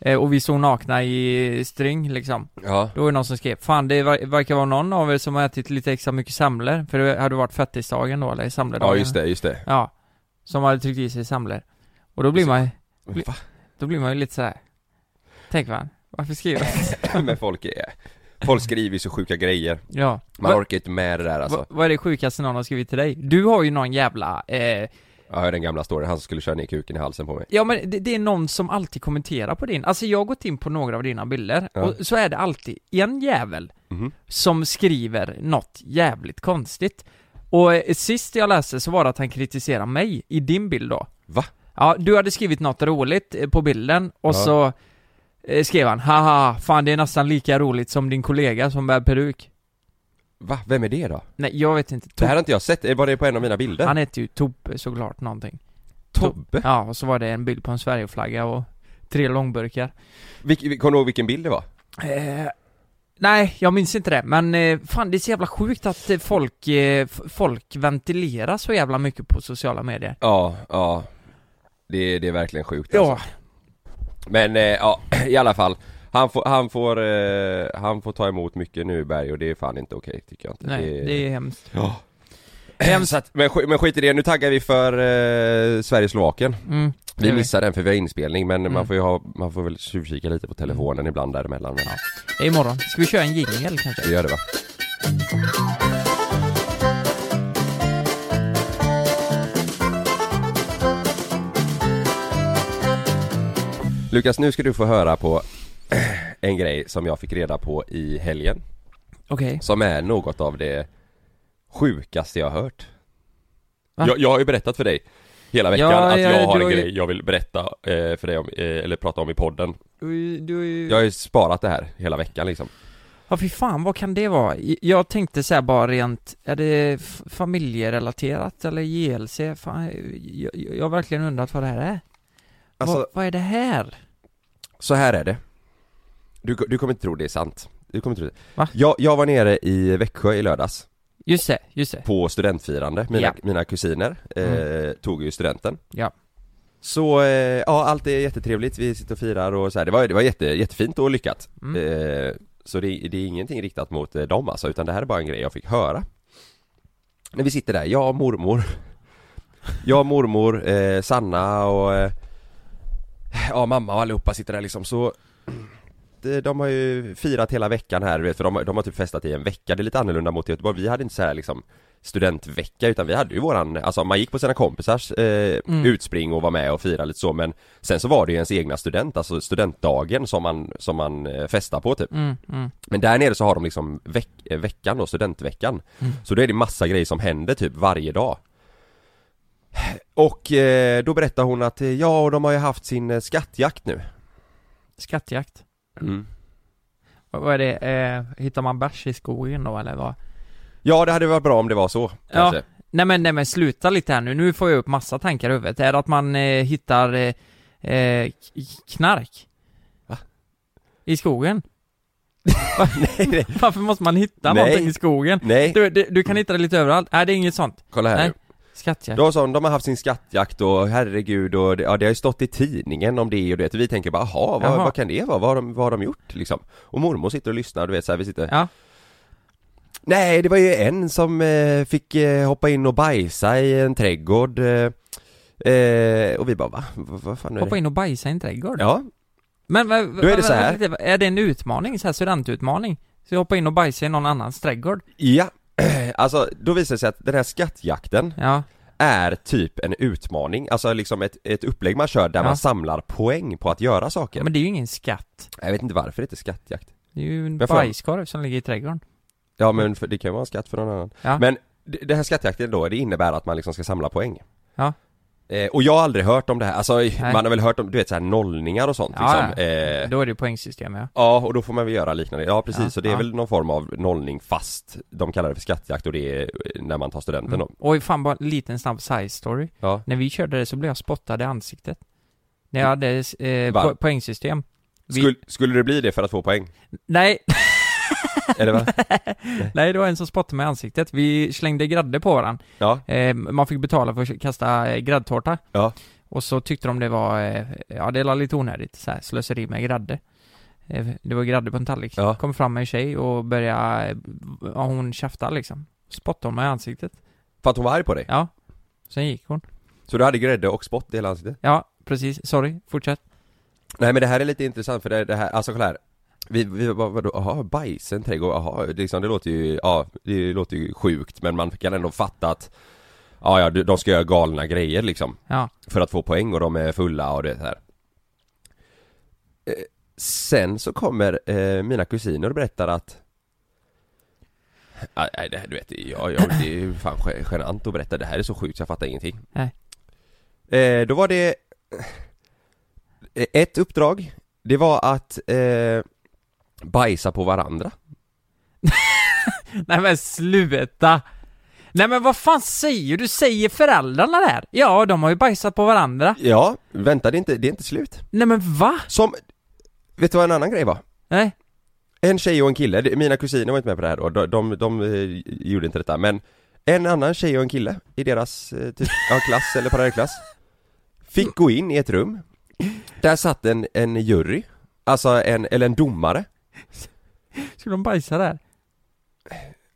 Speaker 6: Eh, och vi stod nakna i string liksom.
Speaker 4: Ja,
Speaker 6: Då var det någon som skrev, fan det ver- verkar vara någon av er som har ätit lite extra mycket semlor. För det hade varit fettisdagen då, eller semledagen.
Speaker 4: ja just det, just det.
Speaker 6: Ja. Som hade tryckt i sig semlor. Och då blir man,
Speaker 4: Men va?
Speaker 6: då blir man ju lite så här. Tänk man, varför skriver jag?
Speaker 4: Men folk är... Folk skriver ju så sjuka grejer.
Speaker 6: Ja.
Speaker 4: Man
Speaker 6: Va-
Speaker 4: orkar inte med det där alltså.
Speaker 6: va- vad är det sjukaste någon har skrivit till dig? Du har ju någon jävla, eh,
Speaker 4: Ja, den gamla storyn, han som skulle köra ner kuken i halsen på mig.
Speaker 6: Ja men det, det är någon som alltid kommenterar på din, alltså jag har gått in på några av dina bilder
Speaker 4: Ja.
Speaker 6: och så är det alltid en jävel
Speaker 4: Mhm.
Speaker 6: som skriver något jävligt konstigt. Och eh, sist jag läste så var det att han kritiserade mig i din bild då.
Speaker 4: Va?
Speaker 6: Ja, du hade skrivit något roligt eh, på bilden och
Speaker 4: Ja.
Speaker 6: så eh, skrev han 'Haha, fan det är nästan lika roligt som din kollega som bär peruk'
Speaker 4: Va? Vem är det då?
Speaker 6: Nej jag vet inte,
Speaker 4: Det här
Speaker 6: Tob-
Speaker 4: har inte jag sett, var det på en av mina bilder?
Speaker 6: han heter ju Tobbe såklart någonting.
Speaker 4: Tobbe?
Speaker 6: Ja, och så var det en bild på en Sverigeflagga och tre långburkar.
Speaker 4: Vilk, vil- kommer du ihåg vilken bild det var?
Speaker 6: Eh, nej, jag minns inte det, men eh, fan det är så jävla sjukt att eh, folk, eh, f- folk ventilerar så jävla mycket på sociala medier.
Speaker 4: Ja, ja. Det, det är verkligen sjukt
Speaker 6: Ja,
Speaker 4: alltså. Men eh, ja, i alla fall. Han får, han, får, eh, han får ta emot mycket nu Berg och det är fan inte okej tycker jag inte.
Speaker 6: nej, det är hemskt.
Speaker 4: Ja.
Speaker 6: Hemskt.
Speaker 4: Så att, men, sk- men skit i det, nu taggar vi för eh, Sverige-Slovakien.
Speaker 6: Mm, det
Speaker 4: Vi
Speaker 6: är
Speaker 4: missar den för vi har inspelning men
Speaker 6: Mm.
Speaker 4: man får ju ha, man får väl tjuvkika lite på telefonen ibland däremellan. Men,
Speaker 6: Det är imorgon. Ska vi köra en jingel kanske?
Speaker 4: Vi gör det va? Lukas, nu ska du få höra på en grej som jag fick reda på i helgen
Speaker 6: Okej.
Speaker 4: Som är något av det sjukaste jag har hört
Speaker 6: Va?
Speaker 4: jag, jag har ju berättat för dig hela veckan
Speaker 6: Ja,
Speaker 4: att
Speaker 6: ja,
Speaker 4: jag har
Speaker 6: du
Speaker 4: en
Speaker 6: har ju-
Speaker 4: grej jag vill berätta eh, för dig om, eh, eller prata om i podden
Speaker 6: Du, du,
Speaker 4: Jag har ju sparat det här hela veckan liksom
Speaker 6: Ja fy fan, vad kan det vara? I- Jag tänkte så här bara rent, är det f- familjerelaterat eller JLC? Fan, jag, jag jag har verkligen undrat vad det här är.
Speaker 4: Alltså-
Speaker 6: vad, vad är det här?
Speaker 4: Så här är det Du, du kommer inte tro det är sant Du kommer inte tro det
Speaker 6: Va?
Speaker 4: jag, jag var nere i Växjö i lördags
Speaker 6: Just det, just det.
Speaker 4: På studentfirande, mina,
Speaker 6: Ja. Mm.
Speaker 4: mina kusiner eh, tog ju studenten
Speaker 6: Ja.
Speaker 4: Så, eh, ja allt är jättetrevligt, vi sitter och firar och så här. Det var, det var jätte, jättefint och lyckat
Speaker 6: Mm.
Speaker 4: eh, Så det, det är ingenting riktat mot eh, dem alltså, utan det här är bara en grej jag fick höra När vi sitter där, jag och mormor Jag och mormor, eh, Sanna och eh, ja mamma och allihopa sitter där liksom så de, eh, de har ju firat hela veckan här vet, för de, har- de har typ festat i en vecka, det är lite annorlunda mot i Göteborg, vi hade inte så här liksom studentvecka utan vi hade ju våran, alltså man gick på sina kompisars eh, utspring och var med och firade lite så men Sen så var det ju ens egna student, alltså studentdagen som man, som man eh, festar på typ
Speaker 6: Mm, mm.
Speaker 4: Men där nere så har de liksom veck, eh, veckan då, studentveckan Så då är det massa grejer som händer typ varje dag Och eh, då berättar hon att eh, ja, och de har ju haft sin eh, skattjakt nu
Speaker 6: Skattjakt. Vad vad är det? Eh, hittar man bärs i skogen då eller vad?
Speaker 4: Ja, det hade varit bra om det var så kanske.
Speaker 6: Nej men, nej men sluta lite här nu, nu får jag upp massa tankar i huvudet. Är det att man eh, hittar eh, eh, k- knark?
Speaker 4: Va?
Speaker 6: I skogen?
Speaker 4: nej, nej.
Speaker 6: Varför måste man hitta
Speaker 4: Nej.
Speaker 6: någonting i skogen?
Speaker 4: nej,
Speaker 6: Du, du, du kan hitta det lite överallt. Nej det är inget sånt.
Speaker 4: kolla här
Speaker 6: Nej.
Speaker 4: nu
Speaker 6: Skattjakt.
Speaker 4: Då sa hon, de har haft sin skattjakt och herregud och det, ja, det har ju stått i tidningen om det och det och vi tänker bara jaha, vad,
Speaker 6: Jaha.
Speaker 4: vad kan det vara? Vad har, de, vad har de gjort liksom? Och mormor sitter och lyssnar, du vet så här, vi sitter
Speaker 6: Ja.
Speaker 4: Nej, det var ju en som eh, fick eh, hoppa in och bajsa i en trädgård eh, eh, Och vi bara va? Vad, vad fan är
Speaker 6: Hoppa
Speaker 4: det?
Speaker 6: in och bajsa i en trädgård?
Speaker 4: Ja,
Speaker 6: Men vad-
Speaker 4: är det
Speaker 6: vad-
Speaker 4: så här.
Speaker 6: vad- vad- Är det en utmaning? Så här studentutmaning? Så hoppa in och bajsa i någon annans trädgård?
Speaker 4: ja Alltså, då visar det sig att den här skattjakten
Speaker 6: Ja.
Speaker 4: är typ en utmaning, alltså liksom ett, ett upplägg man kör där
Speaker 6: Ja.
Speaker 4: man samlar poäng på att göra saker
Speaker 6: Men det är ju ingen skatt.
Speaker 4: Jag vet inte varför det heter skattjakt
Speaker 6: Det är ju en
Speaker 4: Men fan.
Speaker 6: bajskorv som ligger i trädgården.
Speaker 4: Ja men för, det kan ju vara en skatt för någon annan
Speaker 6: Ja.
Speaker 4: Men d- det här skattjakten då, det innebär att man liksom ska samla poäng
Speaker 6: Ja.
Speaker 4: eh, Och jag har aldrig hört om det här, alltså man har väl hört om, du vet så här nollningar och sånt
Speaker 6: Ja,
Speaker 4: liksom
Speaker 6: ja.
Speaker 4: eh,
Speaker 6: Då är det ju poängsystem ja.
Speaker 4: Ja, och då får man väl göra liknande. Ja, precis.
Speaker 6: Ja,
Speaker 4: så det är
Speaker 6: ja.
Speaker 4: väl någon form av nollning fast de kallar det för skattjakt och det är eh, när man tar studenten då.
Speaker 6: Och fan bara en liten snabb side story.
Speaker 4: Ja.
Speaker 6: När vi körde det så blev jag spottad i ansiktet. När jag hade eh,
Speaker 4: Va?
Speaker 6: po poängsystem. Vi-
Speaker 4: Skulle, skulle det bli det för att få poäng?
Speaker 6: Nej,
Speaker 4: Eller va?
Speaker 6: nej det var en som spottade mig i ansiktet. Vi slängde grädde på varandra.
Speaker 4: Ja,
Speaker 6: Eh, man fick betala för att kasta eh, gräddtårta.
Speaker 4: Ja.
Speaker 6: Och så tyckte de det var, eh, ja det var lite onödigt så här, slöseri med grädde. Eh, det var grädde på en tallrik.
Speaker 4: Ja.
Speaker 6: Kom fram en tjej och började, eh, ja, hon tjafta liksom. Spottade hon mig i ansiktet.
Speaker 4: för att hon var arg på dig?
Speaker 6: Ja. Sen gick hon.
Speaker 4: Så du hade grädde och spott i hela ansiktet?
Speaker 6: Ja, precis. Sorry, fortsätt.
Speaker 4: Nej men det här är lite intressant för det, det här, alltså kolla här vi, vi var- vadå, jaha, bajs, en trädgård, jaha, det liksom, det låter ju, ja, det låter ju sjukt men man kan ändå fatta att Ja, ja, de ska göra galna grejer liksom
Speaker 6: Ja.
Speaker 4: För att få poäng och de är fulla och det här Eh, Sen så kommer eh, mina kusiner och berättar att Ah, Nej det här, du vet, jag, jag, det är ju fan gen- genant att berätta, det här är så sjukt så jag fattar ingenting
Speaker 6: Nej.
Speaker 4: eh, Då var det eh, Ett uppdrag Det var att eh, bajsa på varandra
Speaker 6: Nej men sluta! Nej men vad fan säger du? Säger föräldrarna det här? Ja, de har ju bajsat på varandra.
Speaker 4: Ja, vänta det är inte, det är inte slut
Speaker 6: Nej men va?
Speaker 4: Som, vet du vad en annan grej var?
Speaker 6: Nej.
Speaker 4: En tjej och en kille, Det- mina kusiner var inte med på det här då, de, de, de eh, gjorde inte detta men En annan tjej och en kille i deras eh, typ, ja, klass eller parallellklass Fick gå in i ett rum Där satt en, en jury Alltså en, eller en domare
Speaker 6: Skulle de bajsa där?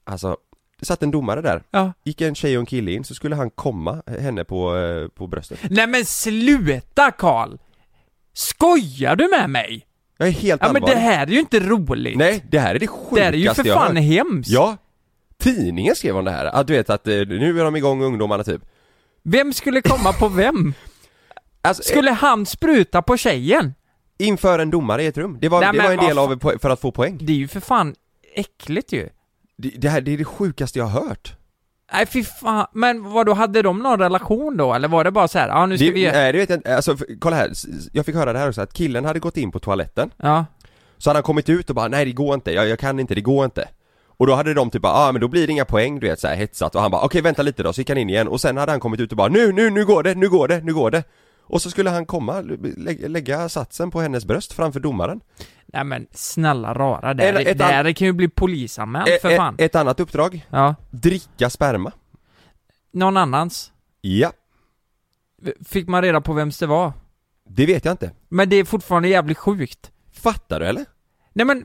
Speaker 4: Alltså, det satt en domare där
Speaker 6: Ja.
Speaker 4: Gick en tjej och en kille in så skulle han komma henne på, eh, på bröstet
Speaker 6: Nej men sluta Karl! Skojar du med mig?
Speaker 4: Jag är helt
Speaker 6: Ja men
Speaker 4: allvarlig
Speaker 6: det här är ju inte roligt.
Speaker 4: Nej, det här är det
Speaker 6: Det
Speaker 4: sjukaste
Speaker 6: här är ju för
Speaker 4: jag har hört.
Speaker 6: fan hemskt.
Speaker 4: Ja! Tidningen skrev om det här, att du vet att eh, nu är de igång ungdomarna typ
Speaker 6: Vem skulle komma på vem?
Speaker 4: Alltså, eh,
Speaker 6: Skulle han spruta på tjejen?
Speaker 4: inför en domare i ett rum, det var,
Speaker 6: Nej,
Speaker 4: det
Speaker 6: men
Speaker 4: var en
Speaker 6: vad
Speaker 4: del av po- för att få poäng
Speaker 6: Det är ju för fan äckligt ju.
Speaker 4: det, det här det är det sjukaste jag har hört
Speaker 6: Nej fy fan, men vad då hade de någon relation då? Eller var det bara så här, ja nu ska
Speaker 4: det,
Speaker 6: vi...
Speaker 4: Nej det vet jag inte, alltså för, kolla här, S- s- jag fick höra det här också att killen hade gått in på toaletten
Speaker 6: Ja.
Speaker 4: Så hade han kommit ut och bara nej det går inte, jag, jag kan inte, det går inte Och då hade de typ bara, ah men då blir det inga poäng du vet såhär hetsat och han bara okej vänta lite då, så gick han in igen och sen hade han kommit ut och bara nu, nu, nu går det, nu går det, nu går det Och så skulle han komma, lä- lägga satsen på hennes bröst framför domaren
Speaker 6: Nej men snälla rara, det här,
Speaker 4: Eller ett
Speaker 6: det här kan ju bli polisanmäld
Speaker 4: E-
Speaker 6: för
Speaker 4: e-
Speaker 6: fan.
Speaker 4: Ett annat uppdrag,
Speaker 6: ja.
Speaker 4: dricka sperma.
Speaker 6: Någon annans.
Speaker 4: Ja,
Speaker 6: Fick man reda på vems det var.
Speaker 4: det vet jag inte.
Speaker 6: Men det är fortfarande jävligt sjukt.
Speaker 4: Fattar du eller?
Speaker 6: Nej men,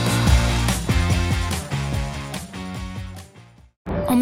Speaker 7: Om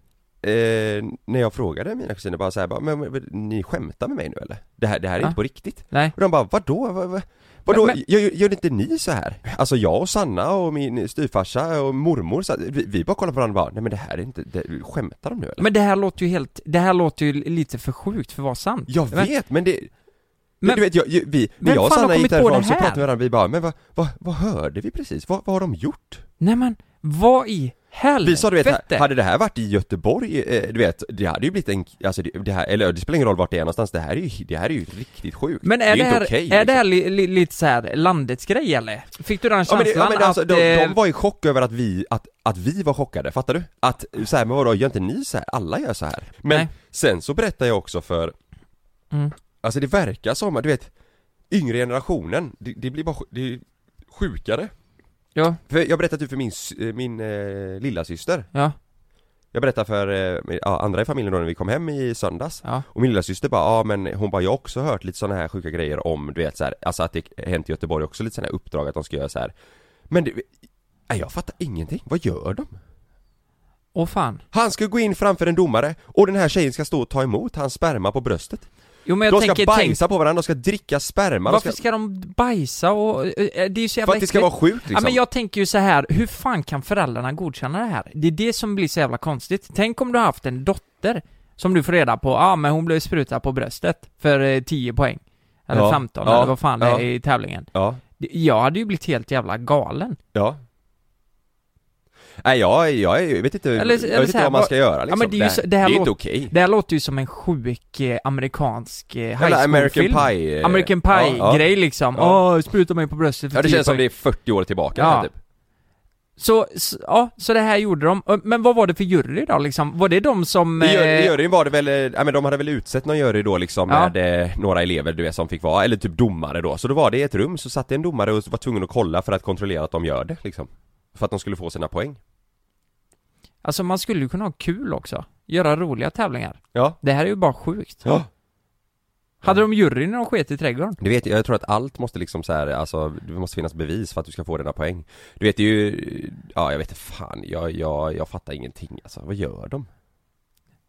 Speaker 4: eh, när jag frågade mina kusiner bara såhär bara, men, men ni skämtar med mig nu eller? Det här, det här är
Speaker 6: Ja.
Speaker 4: inte på riktigt?
Speaker 6: Nej.
Speaker 4: Och de bara, vadå? Vad, vad, vadå?
Speaker 6: Men- men-
Speaker 4: Gör, gör inte ni så här? Alltså jag och Sanna och min styvfarsa och mormor, så här, vi, vi bara kollar på varandra och bara, nej men det här är inte, det, skämtar de nu eller?
Speaker 6: Men det här låter ju helt... Det här låter ju lite för sjukt för att vara sant.
Speaker 4: Jag
Speaker 6: Men-
Speaker 4: vet, men det...
Speaker 6: Men-
Speaker 4: Men, du vet, jag, ju- vi,
Speaker 6: Vem
Speaker 4: när jag och
Speaker 6: fan har
Speaker 4: Sanna gick
Speaker 6: kommit på
Speaker 4: därifrån
Speaker 6: det
Speaker 4: så
Speaker 6: här?
Speaker 4: pratade vi med varandra, vi bara, men vad, vad, vad hörde vi precis? Vad, vad har de gjort?
Speaker 6: Nej men, vad i helvete?
Speaker 4: Vi sa du vet, här- hade det här varit i Göteborg, eh, du vet, det hade ju blivit en, alltså det, det här, eller det spelar ingen roll vart det är någonstans, det här är ju, det här är ju riktigt sjukt.
Speaker 6: Men
Speaker 4: det
Speaker 6: är
Speaker 4: är
Speaker 6: det,
Speaker 4: ju
Speaker 6: här,
Speaker 4: inte okej
Speaker 6: är det
Speaker 4: liksom.
Speaker 6: här li, li, lite så här landets grej eller? Fick du den
Speaker 4: Ja
Speaker 6: känslan
Speaker 4: men, det, ja, men det, alltså,
Speaker 6: att...
Speaker 4: de,
Speaker 6: eh,
Speaker 4: de var i chock över att vi, att, att vi var chockade, fattar du? Att så här, men vadå, gör inte ni så här? Alla gör så här. Men
Speaker 6: Nej.
Speaker 4: sen så berättar jag också för,
Speaker 6: Mm.
Speaker 4: alltså det verkar som, att, du vet, yngre generationen, det, det blir bara, sj- det är sjukare.
Speaker 6: Ja.
Speaker 4: För jag berättade typ för min, sy- eh, min eh, lillasyster
Speaker 6: Ja.
Speaker 4: Jag berättade för eh, min- ja, andra i familjen då när vi kom hem i söndags
Speaker 6: Ja.
Speaker 4: Och min lillasyster bara, ja men hon bara, jag har också hört lite sådana här sjuka grejer om du vet så här, Alltså att det hänt i Göteborg också lite sådana här uppdrag att de ska göra så här. Men det, nej, jag fattar ingenting, vad gör de?
Speaker 6: Åh fan.
Speaker 4: Han ska gå in framför en domare och den här tjejen ska stå och ta emot hans sperma på bröstet
Speaker 6: Jo men jag
Speaker 4: De ska
Speaker 6: tänker, tänk,
Speaker 4: bajsa på varandra, de ska dricka sperma, de
Speaker 6: varför
Speaker 4: ska,
Speaker 6: ska de bajsa och... eh, eh, Det är ju så jävla
Speaker 4: för att det ska
Speaker 6: äckligt.
Speaker 4: vara sjukt liksom
Speaker 6: Ja men jag tänker ju så här, hur fan kan föräldrarna godkänna det här? Det är det som blir så jävla konstigt. Tänk om du har haft en dotter som du får reda på, ja ah, men hon blev sprutad på bröstet för eh, 10 poäng. Eller
Speaker 4: Ja,
Speaker 6: 15
Speaker 4: ja,
Speaker 6: eller vad fan det är
Speaker 4: ja.
Speaker 6: i tävlingen.
Speaker 4: ja.
Speaker 6: Det- Jag hade ju blivit helt jävla galen.
Speaker 4: Ja Nej jag, jag, jag vet inte,
Speaker 6: Eller-
Speaker 4: jag
Speaker 6: eller
Speaker 4: vet
Speaker 6: så
Speaker 4: inte
Speaker 6: här,
Speaker 4: vad man
Speaker 6: vad-
Speaker 4: ska göra liksom.
Speaker 6: men det är ju så- det här
Speaker 4: det är inte
Speaker 6: låter-
Speaker 4: okej
Speaker 6: Det här låter ju som en sjuk eh, amerikansk eh, high
Speaker 4: Eller
Speaker 6: school-film.
Speaker 4: American Pie, eh,
Speaker 6: American
Speaker 4: ja, ja.
Speaker 6: Pie-grej liksom. Åh,
Speaker 4: Ja.
Speaker 6: spruta mig på bröstet för
Speaker 4: Ja det
Speaker 6: 10
Speaker 4: känns som
Speaker 6: poäng.
Speaker 4: det är 40 år tillbaka
Speaker 6: Ja.
Speaker 4: typ
Speaker 6: Så, så, ja, så det här gjorde de. Men vad var det för jury då liksom? Var det de som...
Speaker 4: I jur-
Speaker 6: eh,
Speaker 4: i juryn var det väl, eh, ja, men de hade väl utsett någon jury då liksom
Speaker 6: Ja.
Speaker 4: med eh, några elever du vet som fick vara, eller typ domare då Så då var det i ett rum, så satt det en domare och var tvungen att kolla för att kontrollera att de gör det liksom För att de skulle få sina poäng
Speaker 6: Alltså man skulle ju kunna ha kul också. Göra roliga tävlingar.
Speaker 4: Ja
Speaker 6: Det här är ju bara sjukt.
Speaker 4: Ja
Speaker 6: Hade de juryn när de sket i trädgården?
Speaker 4: Du vet, jag tror att allt måste liksom så här, alltså det måste finnas bevis för att du ska få dina poäng Du vet det är ju, ja jag vet inte fan, jag, jag, jag fattar ingenting alltså, vad gör de?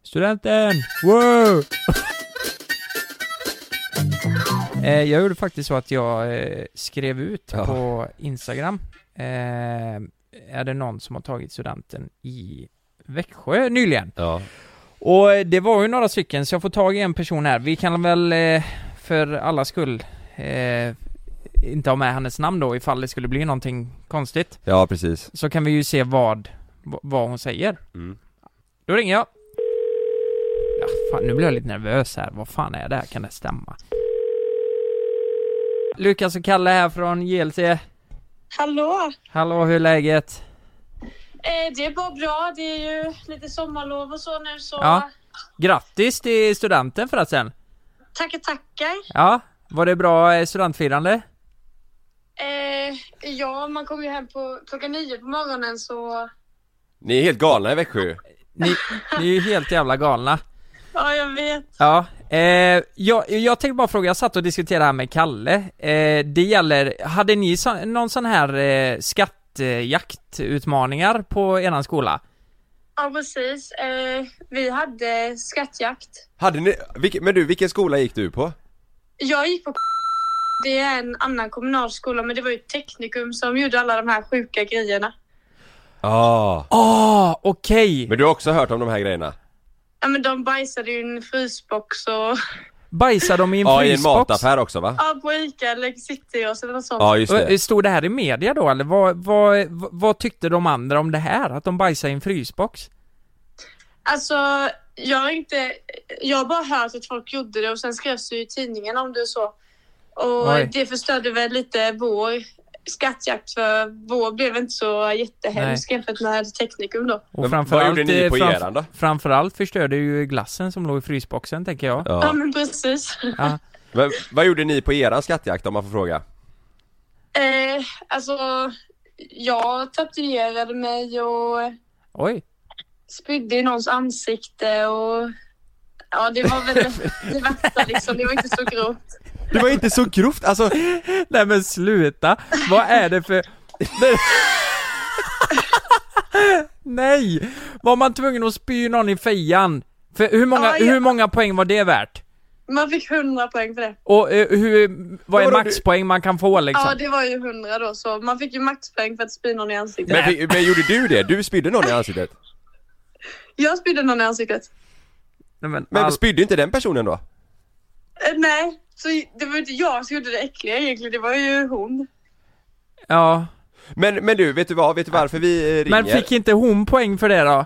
Speaker 6: Studenten! Wow! eh, jag gjorde faktiskt så att jag eh, skrev ut
Speaker 4: Ja.
Speaker 6: på Instagram. Eh, är det någon som har tagit studenten i Växjö nyligen?
Speaker 4: Ja
Speaker 6: Och eh, det var ju några stycken, så jag får tag i en person här. Vi kan väl eh, för alla skull eh, inte ha med hennes namn då ifall det skulle bli någonting konstigt.
Speaker 4: Ja precis
Speaker 6: Så kan vi ju se vad, v- vad hon säger.
Speaker 4: Mm.
Speaker 6: Då ringer jag. Ja, fan, nu blir jag lite nervös här. Vad fan är det här? Kan det stämma? Lukas och Kalle här från JLC.
Speaker 8: Hallå!
Speaker 6: Hallå, hur är läget?
Speaker 8: Eh, det är bara bra. Det är ju lite sommarlov och så nu så
Speaker 6: Ja. Grattis till studenten förresten.
Speaker 8: tackar tackar.
Speaker 6: Ja, var det bra eh, studentfirande?
Speaker 8: Eh, ja, man kommer ju hem på klockan nio på morgonen så
Speaker 4: Ni är helt galna i Växjö
Speaker 6: Ni, ni är ju helt jävla galna.
Speaker 8: ja, jag vet.
Speaker 6: Ja, eh, jag, jag tänkte bara fråga, jag satt och diskuterade här med Kalle. Eh, det gäller, hade ni så, någon sån här eh, skattjaktutmaningar på eran skola?
Speaker 8: Ja, precis. Eh, vi hade skattjakt.
Speaker 4: Hade ni, vilke, men du, vilken skola gick du på?
Speaker 8: Jag gick på Det är en annan kommunal skola, men det var ju teknikum som gjorde alla de här sjuka grejerna.
Speaker 4: Ah.
Speaker 6: Ah, okej!
Speaker 4: Men du har också hört om de här grejerna?
Speaker 8: Ja, men de bajsade ju i en frysbox och...
Speaker 6: Bajsade de i en
Speaker 4: Ja, i en
Speaker 6: frysbox?
Speaker 4: mataffär också va?
Speaker 8: Ja, på Ica eller City och sådana sånt.
Speaker 6: Och, eh, Stod det här i media då eller vad, vad, vad, vad tyckte de andra om det här? Att de bajsade i en frysbox?
Speaker 8: Alltså, jag har inte... Jag har bara hört att folk gjorde det och sen skrevs det ju i tidningen om det och så. Och
Speaker 6: Oj.
Speaker 8: det förstörde väl lite vår skattjakt för vår blev inte så jättehemsk jämfört med teknikum då.
Speaker 6: Och
Speaker 4: Men
Speaker 6: framförallt,
Speaker 4: vad gjorde ni
Speaker 6: eh,
Speaker 4: på
Speaker 6: framf-
Speaker 4: eran då?
Speaker 6: Framförallt förstörde ju glassen som låg i frysboxen tänker jag.
Speaker 8: Ja, men precis.
Speaker 6: Ja.
Speaker 4: Men, vad gjorde ni på eran skattjakt om man får fråga?
Speaker 8: eh, alltså, jag tatuerade mig och
Speaker 6: Oj.
Speaker 8: spydde i någons ansikte och ja, det var väl det värsta liksom. Det var inte så grovt.
Speaker 6: Det var inte så grovt, alltså Nej men sluta! Vad är det för... Nej. Nej! Var man tvungen att spy någon i fejan? För hur många,
Speaker 8: Ja, ja.
Speaker 6: hur många poäng var det värt?
Speaker 8: Man fick 100 poäng för det.
Speaker 6: Och eh, hur, vad är
Speaker 8: Vadå,
Speaker 6: maxpoäng man kan få liksom?
Speaker 8: Ja, det var ju 100 då, så man fick ju maxpoäng för att spy någon i ansiktet.
Speaker 4: Men, fick- men gjorde du det? Du spydde någon i ansiktet?
Speaker 8: Jag spydde någon i ansiktet.
Speaker 6: men
Speaker 4: men spydde inte den personen då?
Speaker 8: Eh, nej, så det var ju inte jag som gjorde det äckliga egentligen, det var ju hon.
Speaker 6: Ja
Speaker 4: Men, men du, vet du vad? Vet du varför vi eh, ringer?
Speaker 6: Men fick inte hon poäng för det då?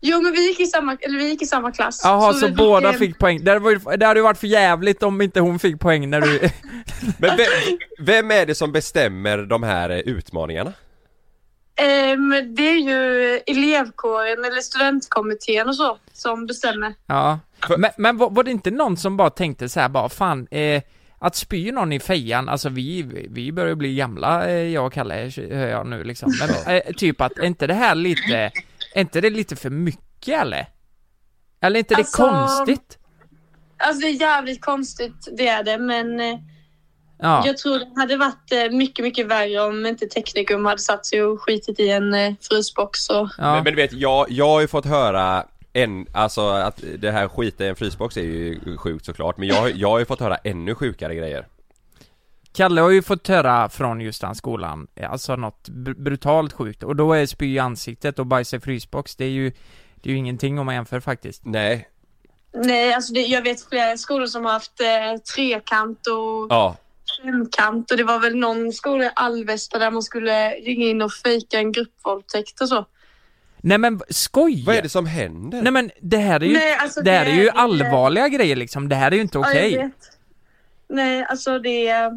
Speaker 8: Jo, men vi gick i samma, eller vi gick i samma klass.
Speaker 6: Jaha, så,
Speaker 8: vi
Speaker 6: båda
Speaker 8: eh,
Speaker 6: fick poäng. Det hade, varit, det hade ju varit för jävligt om inte hon fick poäng när du...
Speaker 4: Men vem, vem är det som bestämmer de här eh, utmaningarna?
Speaker 8: ehm, det är ju elevkåren eller studentkommittén och så som bestämmer.
Speaker 6: Ja. Men, men var, var det inte någon som bara tänkte så här bara, fan, eh, att spy någon i fejan, alltså vi, vi börjar bli gamla, eh, jag och Kalle, hör jag nu liksom. Men, eh, typ att, är inte det här lite, är inte det lite för mycket eller? Eller är inte det
Speaker 8: Alltså-
Speaker 6: konstigt?
Speaker 8: Alltså det är jävligt konstigt, det är det, men eh,
Speaker 6: Ja.
Speaker 8: jag tror det hade varit eh, mycket, mycket värre om inte teknikum hade satt sig och skitit i en eh, frysbox och...
Speaker 4: Men, men du vet, jag, jag har ju fått höra en, alltså att det här skita i en frysbox är ju sjukt såklart Men jag, jag har ju fått höra ännu sjukare grejer
Speaker 6: Kalle har ju fått höra från just den skolan, eh, alltså något br- brutalt sjukt, och då är spy i ansiktet och bajsa i frysbox, det är ju, det är ju ingenting om man jämför faktiskt.
Speaker 4: Nej.
Speaker 8: Nej, alltså det, jag vet flera skolor som har haft eh, trekant och
Speaker 4: Ja,
Speaker 8: femkant och det var väl någon skola i Alvesta där man skulle ringa in och fejka en gruppvåldtäkt och så.
Speaker 6: Nej men skoj! Vad är
Speaker 4: det som händer?
Speaker 6: Nej men det här är ju,
Speaker 8: Nej, alltså,
Speaker 6: det här
Speaker 8: det
Speaker 6: är ju
Speaker 8: är-
Speaker 6: allvarliga grejer liksom, det här är ju inte
Speaker 8: Ja, jag
Speaker 6: okej.
Speaker 8: vet. Nej, alltså det,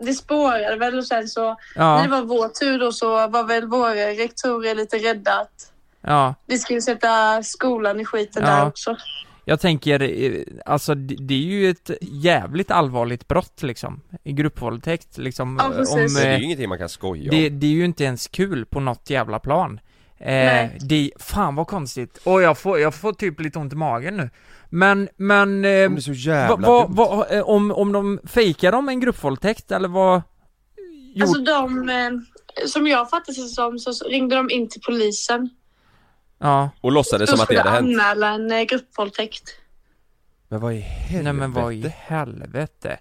Speaker 8: det spårade väl och sen så
Speaker 6: Ja.
Speaker 8: när det var vår tur då så var väl våra rektorer lite rädda att
Speaker 6: Ja,
Speaker 8: vi skulle sätta skolan i skiten
Speaker 6: Ja.
Speaker 8: där också.
Speaker 6: jag tänker, eh, alltså det, det är ju ett jävligt allvarligt brott liksom, i gruppvåldtäkt liksom.
Speaker 8: Ja,
Speaker 6: eh,
Speaker 8: precis.
Speaker 6: om,
Speaker 4: men det är
Speaker 6: eh,
Speaker 4: ju ingenting man kan skoja
Speaker 6: det,
Speaker 4: om
Speaker 6: det är ju inte ens kul på något jävla plan. Eh,
Speaker 4: Nej.
Speaker 6: det, fan vad konstigt. Och jag får, jag får typ lite ont i magen nu. Men, men... Eh,
Speaker 4: är så jävla
Speaker 6: vad- vad- vad- eh, om, om de fejkar de en gruppvåldtäkt eller vad? Jo.
Speaker 8: Alltså de, eh, som jag fattade det som, så ringde de in till polisen.
Speaker 6: Ja.
Speaker 4: Och låtsades
Speaker 8: Då
Speaker 4: som att det
Speaker 8: skulle
Speaker 4: hade hänt
Speaker 8: anmäla en eh, gruppvåldtäkt.
Speaker 4: Men vad i helvete?
Speaker 6: Nej men vad i helvete?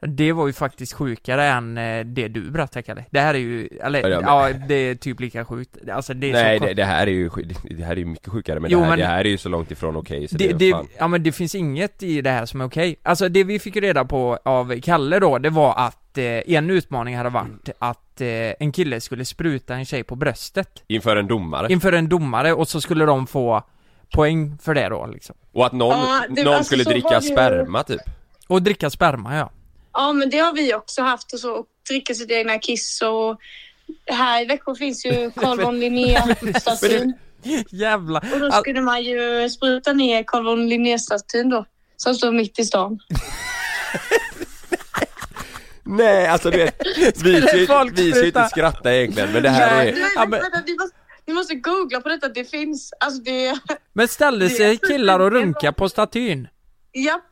Speaker 6: Det var ju faktiskt sjukare än eh, det du berättade Kalle. Det här är ju, eller
Speaker 4: Ja,
Speaker 6: ja,
Speaker 4: men-
Speaker 6: det är typ lika sjukt. Alltså det är
Speaker 4: Nej
Speaker 6: så
Speaker 4: det, det här är ju sj- det här är ju mycket sjukare men,
Speaker 6: Jo,
Speaker 4: det, här,
Speaker 6: men-
Speaker 4: det här är ju så långt ifrån okej så
Speaker 6: det,
Speaker 4: det,
Speaker 6: det,
Speaker 4: är fan
Speaker 6: ja men det finns inget i det här som är okej. Alltså det vi fick reda på av Kalle då, det var att eh, en utmaning hade varit att eh, en kille skulle spruta en tjej på bröstet
Speaker 4: Inför en domare
Speaker 6: inför en domare och så skulle de få poäng för det då liksom.
Speaker 4: Och att någon,
Speaker 8: Ja, det-
Speaker 4: någon
Speaker 8: alltså,
Speaker 4: skulle
Speaker 8: så var
Speaker 4: dricka
Speaker 8: det ju-
Speaker 4: sperma typ
Speaker 6: Och dricka sperma ja.
Speaker 8: Ja, men det har vi också haft och så. Och dricka sitt egna kiss och... Här i Växjö finns ju Carl von Linné-statyn.
Speaker 6: Jävla.
Speaker 8: Och då skulle man ju spruta ner Carl von Linné-statyn då. Som står mitt i stan.
Speaker 4: Nej alltså du vet, vi
Speaker 6: Skulle
Speaker 4: ska ju-
Speaker 6: folk
Speaker 4: vi ska ju
Speaker 6: sluta?
Speaker 4: inte skratta egentligen men det här
Speaker 8: Nej,
Speaker 4: är
Speaker 8: vänta, vänta, ni, måste, ni måste googla på detta, det finns. Alltså det...
Speaker 6: Men ställde sig killar och runka på statyn?
Speaker 8: Japp.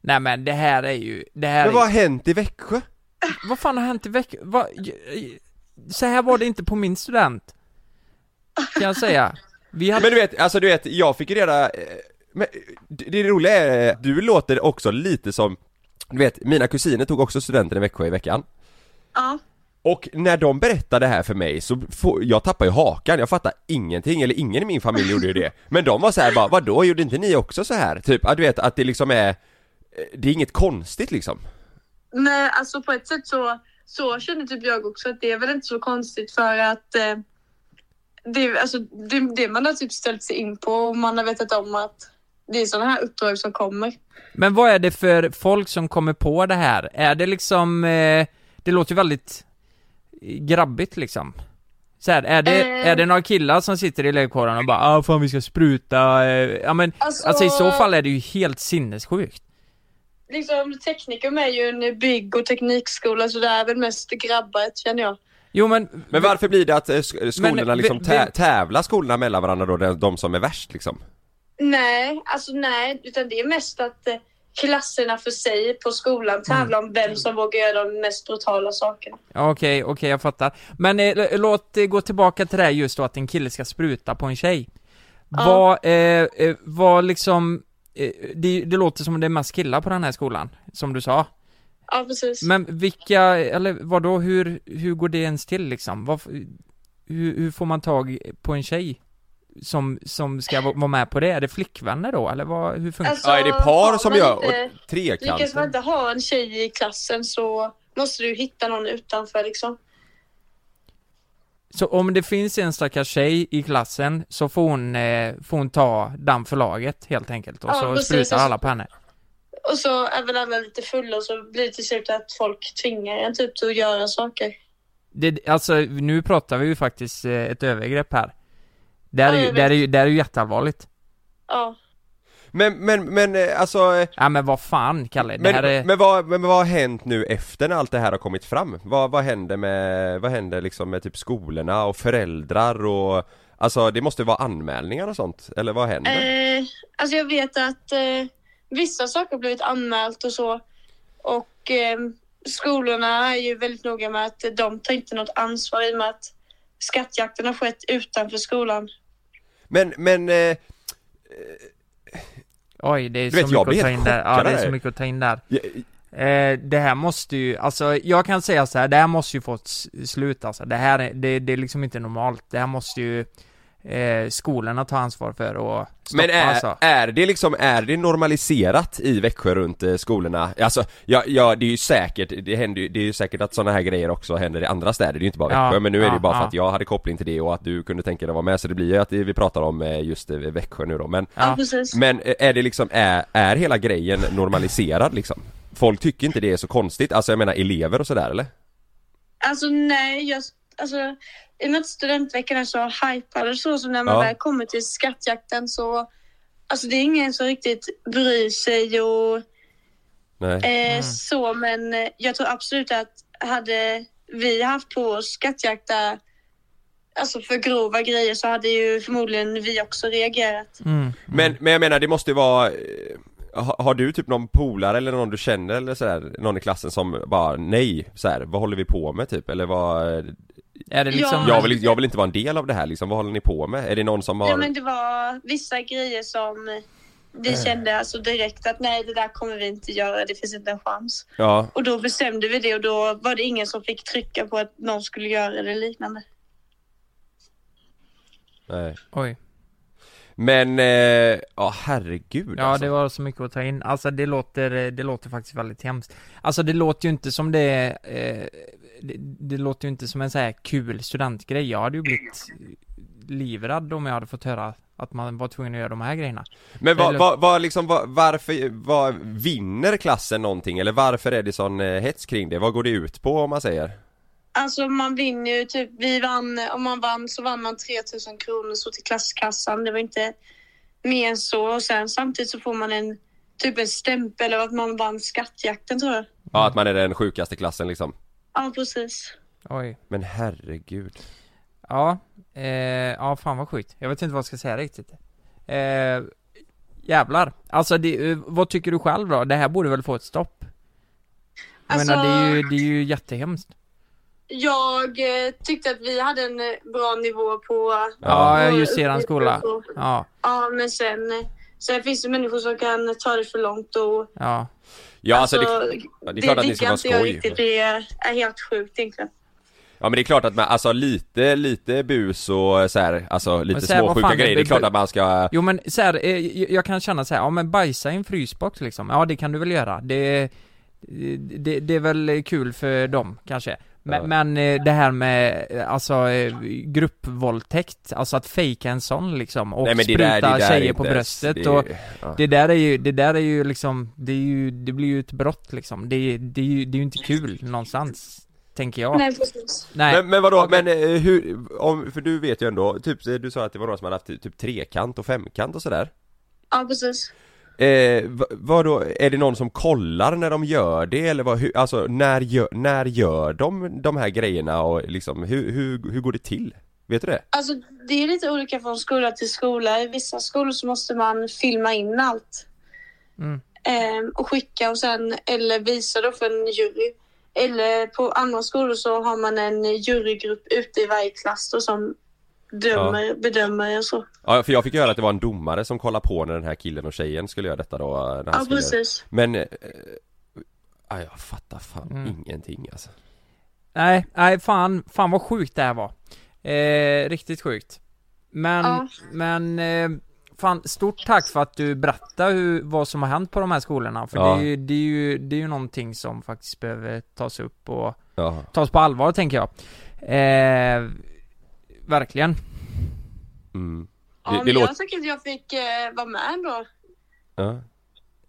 Speaker 6: Nej men det här är ju, det här
Speaker 4: Men
Speaker 6: är...
Speaker 4: vad har hänt i Växjö?
Speaker 6: Vad fan har hänt i Växjö? Vad... Så här var det inte på min student. Kan jag säga.
Speaker 4: Men du vet, alltså du vet, jag fick ju reda... eh, Men det det roliga är, eh, du låter också lite som, du vet, mina kusiner tog också studenten i Växjö i veckan.
Speaker 8: Ja.
Speaker 4: Och när de berättade det här för mig så, få, jag tappade ju hakan, jag fattade ingenting, eller ingen i min familj gjorde ju det. Men de var så här bara, vadå, gjorde inte ni också så här? Typ, att du vet, att det liksom är, eh, det är inget konstigt liksom.
Speaker 8: Nej, alltså på ett sätt så, så känner typ jag också att det är väl inte så konstigt för att eh, det, alltså, det, det man har typ ställt sig in på och man har vetat om att det är sådana här uppdrag som kommer.
Speaker 6: Men vad är det för folk som kommer på det här? Är det liksom, eh, det låter ju väldigt eh, grabbigt liksom. Så här, är, det,
Speaker 8: Eh.
Speaker 6: är det några killar som sitter i läggkåren och bara ah, fan vi ska spruta, eh, ja men alltså...
Speaker 8: Alltså-
Speaker 6: i så fall är det ju helt sinnessjukt.
Speaker 8: Liksom teknikum är ju en bygg och teknikskola så det är väl mest grabbar känner jag.
Speaker 6: Jo men
Speaker 4: Men varför blir det att eh, sk- skolorna
Speaker 6: Men,
Speaker 4: liksom
Speaker 6: vi-
Speaker 4: tä-
Speaker 6: vi-
Speaker 4: tävlar skolorna mellan varandra då, de, de som är värst liksom?
Speaker 8: Nej, alltså nej, utan det är mest att eh, klasserna för sig på skolan tävlar om vem som vågar göra de mest brutala sakerna.
Speaker 6: Ja, Okej, okej jag fattar. Men eh, l- låt eh, gå tillbaka till det här just då att en kille ska spruta på en tjej.
Speaker 8: Ja.
Speaker 6: Vad, eh, eh, vad liksom, eh, det, det låter som det är mest killar på den här skolan, som du sa.
Speaker 8: Ja, precis.
Speaker 6: Men vilka, eller vadå, hur, hur går det ens till liksom? Varför, hur, hur får man tag på en tjej? Som, som ska va- vara med på det? Är det flickvänner då, eller vad, hur funkar
Speaker 8: Alltså, har man inte- Lyckas man inte ha en tjej i klassen så måste du hitta någon utanför liksom.
Speaker 6: Så om det finns en stackars tjej i klassen så får hon, eh, får hon ta den för laget helt enkelt och
Speaker 8: Ja,
Speaker 6: så
Speaker 8: precis.
Speaker 6: sprutar alla på henne.
Speaker 8: Och så är väl alla lite fulla och så blir det till slut att folk tvingar en typ till att göra saker.
Speaker 6: Det, alltså nu pratar vi ju faktiskt eh, ett övergrepp här. Där
Speaker 8: Ja,
Speaker 6: är ju,
Speaker 8: jag
Speaker 6: där
Speaker 8: vet.
Speaker 6: är ju, där är ju jätteallvarligt.
Speaker 8: Ja.
Speaker 4: Men, men, men eh, alltså... eh,
Speaker 6: Ja men vad fan Kalle, det
Speaker 4: Men,
Speaker 6: här är...
Speaker 4: men, vad, men vad har hänt nu efter när allt det här har kommit fram? Vad, vad händer med, vad händer liksom med typ skolorna och föräldrar och Alltså det måste vara anmälningar och sånt, eller vad händer?
Speaker 8: Eh, alltså jag vet att eh, vissa saker har blivit anmält och så. Och eh, skolorna är ju väldigt noga med att de tar inte något ansvar i och med att skattjakten har skett utanför skolan.
Speaker 4: Men, men, eh,
Speaker 6: Oj, det är
Speaker 4: Du
Speaker 6: så
Speaker 4: vet, jag
Speaker 6: mycket
Speaker 4: blir
Speaker 6: att ta
Speaker 4: helt
Speaker 6: in där. Ja,
Speaker 4: chockad
Speaker 6: det är
Speaker 4: där.
Speaker 6: så mycket att ta in där. Eh, det här måste ju, alltså jag kan säga så här, det här måste ju få ett s- slut alltså. Det här, är- det, det är liksom inte normalt. Det här måste ju eh, skolorna ta ansvar för och stoppa
Speaker 4: men eh, är,
Speaker 6: alltså.
Speaker 4: är det liksom, är det normaliserat i Växjö runt eh, skolorna? Alltså, ja, ja det är ju säkert, det händer ju, det är ju säkert att sådana här grejer också händer i andra städer, det är ju inte bara
Speaker 6: Ja,
Speaker 4: Växjö, men nu är det
Speaker 6: ja,
Speaker 4: ju bara
Speaker 6: ja.
Speaker 4: för att jag hade koppling till det och att du kunde tänka dig att vara med, så det blir ju att det- vi pratar om eh, just eh, Växjö nu då, men
Speaker 8: Ja, precis.
Speaker 4: Men eh, är det liksom, är, är hela grejen normaliserad liksom? Folk tycker inte det är så konstigt, alltså jag menar elever och sådär eller?
Speaker 8: Alltså nej, jag, alltså, i och med att studentveckan är så hypad och så, så när man
Speaker 4: Ja.
Speaker 8: väl kommer till skattjakten så, alltså det är ingen som riktigt bryr sig och
Speaker 4: Nej.
Speaker 8: eh, så, men eh, jag tror absolut att hade vi haft på oss skattjakt där, alltså för grova grejer så hade ju förmodligen vi också reagerat.
Speaker 4: Men, men jag menar det måste ju vara eh, ha- har du typ någon polare eller någon du känner eller sådär, någon i klassen som bara nej, såhär, vad håller vi på med typ? Eller vad...
Speaker 6: Är det
Speaker 8: liksom-
Speaker 4: jag, vill, jag vill inte vara en del av det här liksom, vad håller ni på med? Är det någon som har...
Speaker 8: Ja, men det var vissa grejer som vi kände alltså direkt att nej, det där kommer vi inte göra, det finns inte en chans.
Speaker 4: ja.
Speaker 8: Och då bestämde vi det och då var det ingen som fick trycka på att någon skulle göra det liknande.
Speaker 4: Nej.
Speaker 6: Oj.
Speaker 4: Men, eh, ja herregud
Speaker 6: Ja,
Speaker 4: alltså.
Speaker 6: det var så mycket att ta in. Alltså det låter, eh, det låter faktiskt väldigt hemskt. Alltså det låter ju inte som det, är, eh, det, det låter ju inte som en så här kul studentgrej. Jag hade ju blivit livrad om jag hade fått höra att man var tvungen att göra de här grejerna.
Speaker 4: Men vad,
Speaker 6: Det
Speaker 4: vad, vad liksom, vad, varför, vad vinner klassen någonting? Eller varför är det sån eh, hets kring det? Vad går det ut på om man säger?
Speaker 8: Alltså man vinner ju typ, vi vann, om man vann så vann man 3000 kronor så till klasskassan. Det var inte mer än så. Och sen samtidigt så får man en, typ en stämpel av att man vann skattjakten tror jag.
Speaker 4: Ja, att man är den sjukaste klassen liksom.
Speaker 8: Ja, precis.
Speaker 6: Oj.
Speaker 4: Men herregud.
Speaker 6: Ja, eh, ja fan vad sjukt. Jag vet inte vad jag ska säga riktigt. Eh, jävlar. Alltså det, eh, vad tycker du själv då? Det här borde väl få ett stopp? Jag
Speaker 8: Alltså-
Speaker 6: menar det är ju, det är ju jättehemskt.
Speaker 8: jag eh, tyckte att vi hade en eh, bra nivå på...
Speaker 6: Ja,
Speaker 8: på-
Speaker 6: just eran skola.
Speaker 8: på-
Speaker 6: Ja,
Speaker 8: Ja, men sen, eh, sen finns det människor som kan ta det för långt och...
Speaker 6: ja.
Speaker 4: Ja alltså, det,
Speaker 8: det
Speaker 4: det är klart att ni ska
Speaker 8: diggar
Speaker 4: vara
Speaker 8: inte jag
Speaker 4: skoj.
Speaker 8: riktigt. Det är, är helt sjukt egentligen.
Speaker 4: Ja men det är klart att man, alltså lite, lite bus och så här, alltså lite
Speaker 6: så här, vad
Speaker 4: småsjuka
Speaker 6: fan,
Speaker 4: grejer, det är
Speaker 6: bu-
Speaker 4: klart att man ska
Speaker 6: Jo men så här, eh, jag- jag kan känna så här, ja men bajsa i en frysbox liksom. Ja det kan du väl göra. Det, det, det är väl kul för dem kanske. Men,
Speaker 4: Ja.
Speaker 6: men eh, det här med eh, alltså eh, gruppvåldtäkt, alltså att fejka en sån liksom och
Speaker 4: Nej, men det där-
Speaker 6: spruta
Speaker 4: det där är
Speaker 6: tjejer
Speaker 4: inte
Speaker 6: på
Speaker 4: ens-
Speaker 6: bröstet
Speaker 4: det är-
Speaker 6: och
Speaker 4: ja.
Speaker 6: det där är ju, det där är ju liksom, det är ju, det blir ju ett brott liksom. Det, är- det är ju, det är ju inte kul någonstans, tänker jag.
Speaker 8: Nej, precis.
Speaker 6: Nej.
Speaker 4: Men, men vadå, men eh, hur, om, för du vet ju ändå, typ, eh, du sa att det var några som hade haft typ trekant och femkant och sådär
Speaker 8: Ja, precis.
Speaker 4: eh, va- Vadå, är det någon som kollar när de gör det eller vad, hur, alltså när gör, när gör de de här grejerna och liksom, hur, hur, hur går det till? Vet du det?
Speaker 8: Alltså, det är lite olika från skola till skola. I vissa skolor så måste man filma in allt
Speaker 4: Mm.
Speaker 8: ehm, och skicka och sen, eller visa då för en jury. Eller på andra skolor så har man en jurygrupp ute i varje klass då som dömer,
Speaker 4: Ja.
Speaker 8: bedömer och så.
Speaker 4: Ja, för jag fick höra att det var en domare som kollade på när den här killen och tjejen skulle göra detta då när han
Speaker 8: Ja,
Speaker 4: skulle...
Speaker 8: precis.
Speaker 4: Men, eh, ja, jag fattar fan
Speaker 6: Mm.
Speaker 4: ingenting alltså
Speaker 6: Nej, nej fan, fan vad sjukt det här var. Eh, riktigt sjukt. Men,
Speaker 8: Ja.
Speaker 6: men, eh, fan stort tack för att du berättar hur, vad som har hänt på de här skolorna. För
Speaker 4: Ja.
Speaker 6: det, är ju, det, är ju, det är ju någonting som faktiskt behöver tas upp och
Speaker 4: Ja.
Speaker 6: tas på allvar tänker jag. Eh, verkligen.
Speaker 4: mm.
Speaker 8: Ja,
Speaker 4: Det,
Speaker 8: men
Speaker 4: det
Speaker 8: jag
Speaker 4: låter...
Speaker 8: tycker att jag fick eh, vara med då.
Speaker 4: Ja.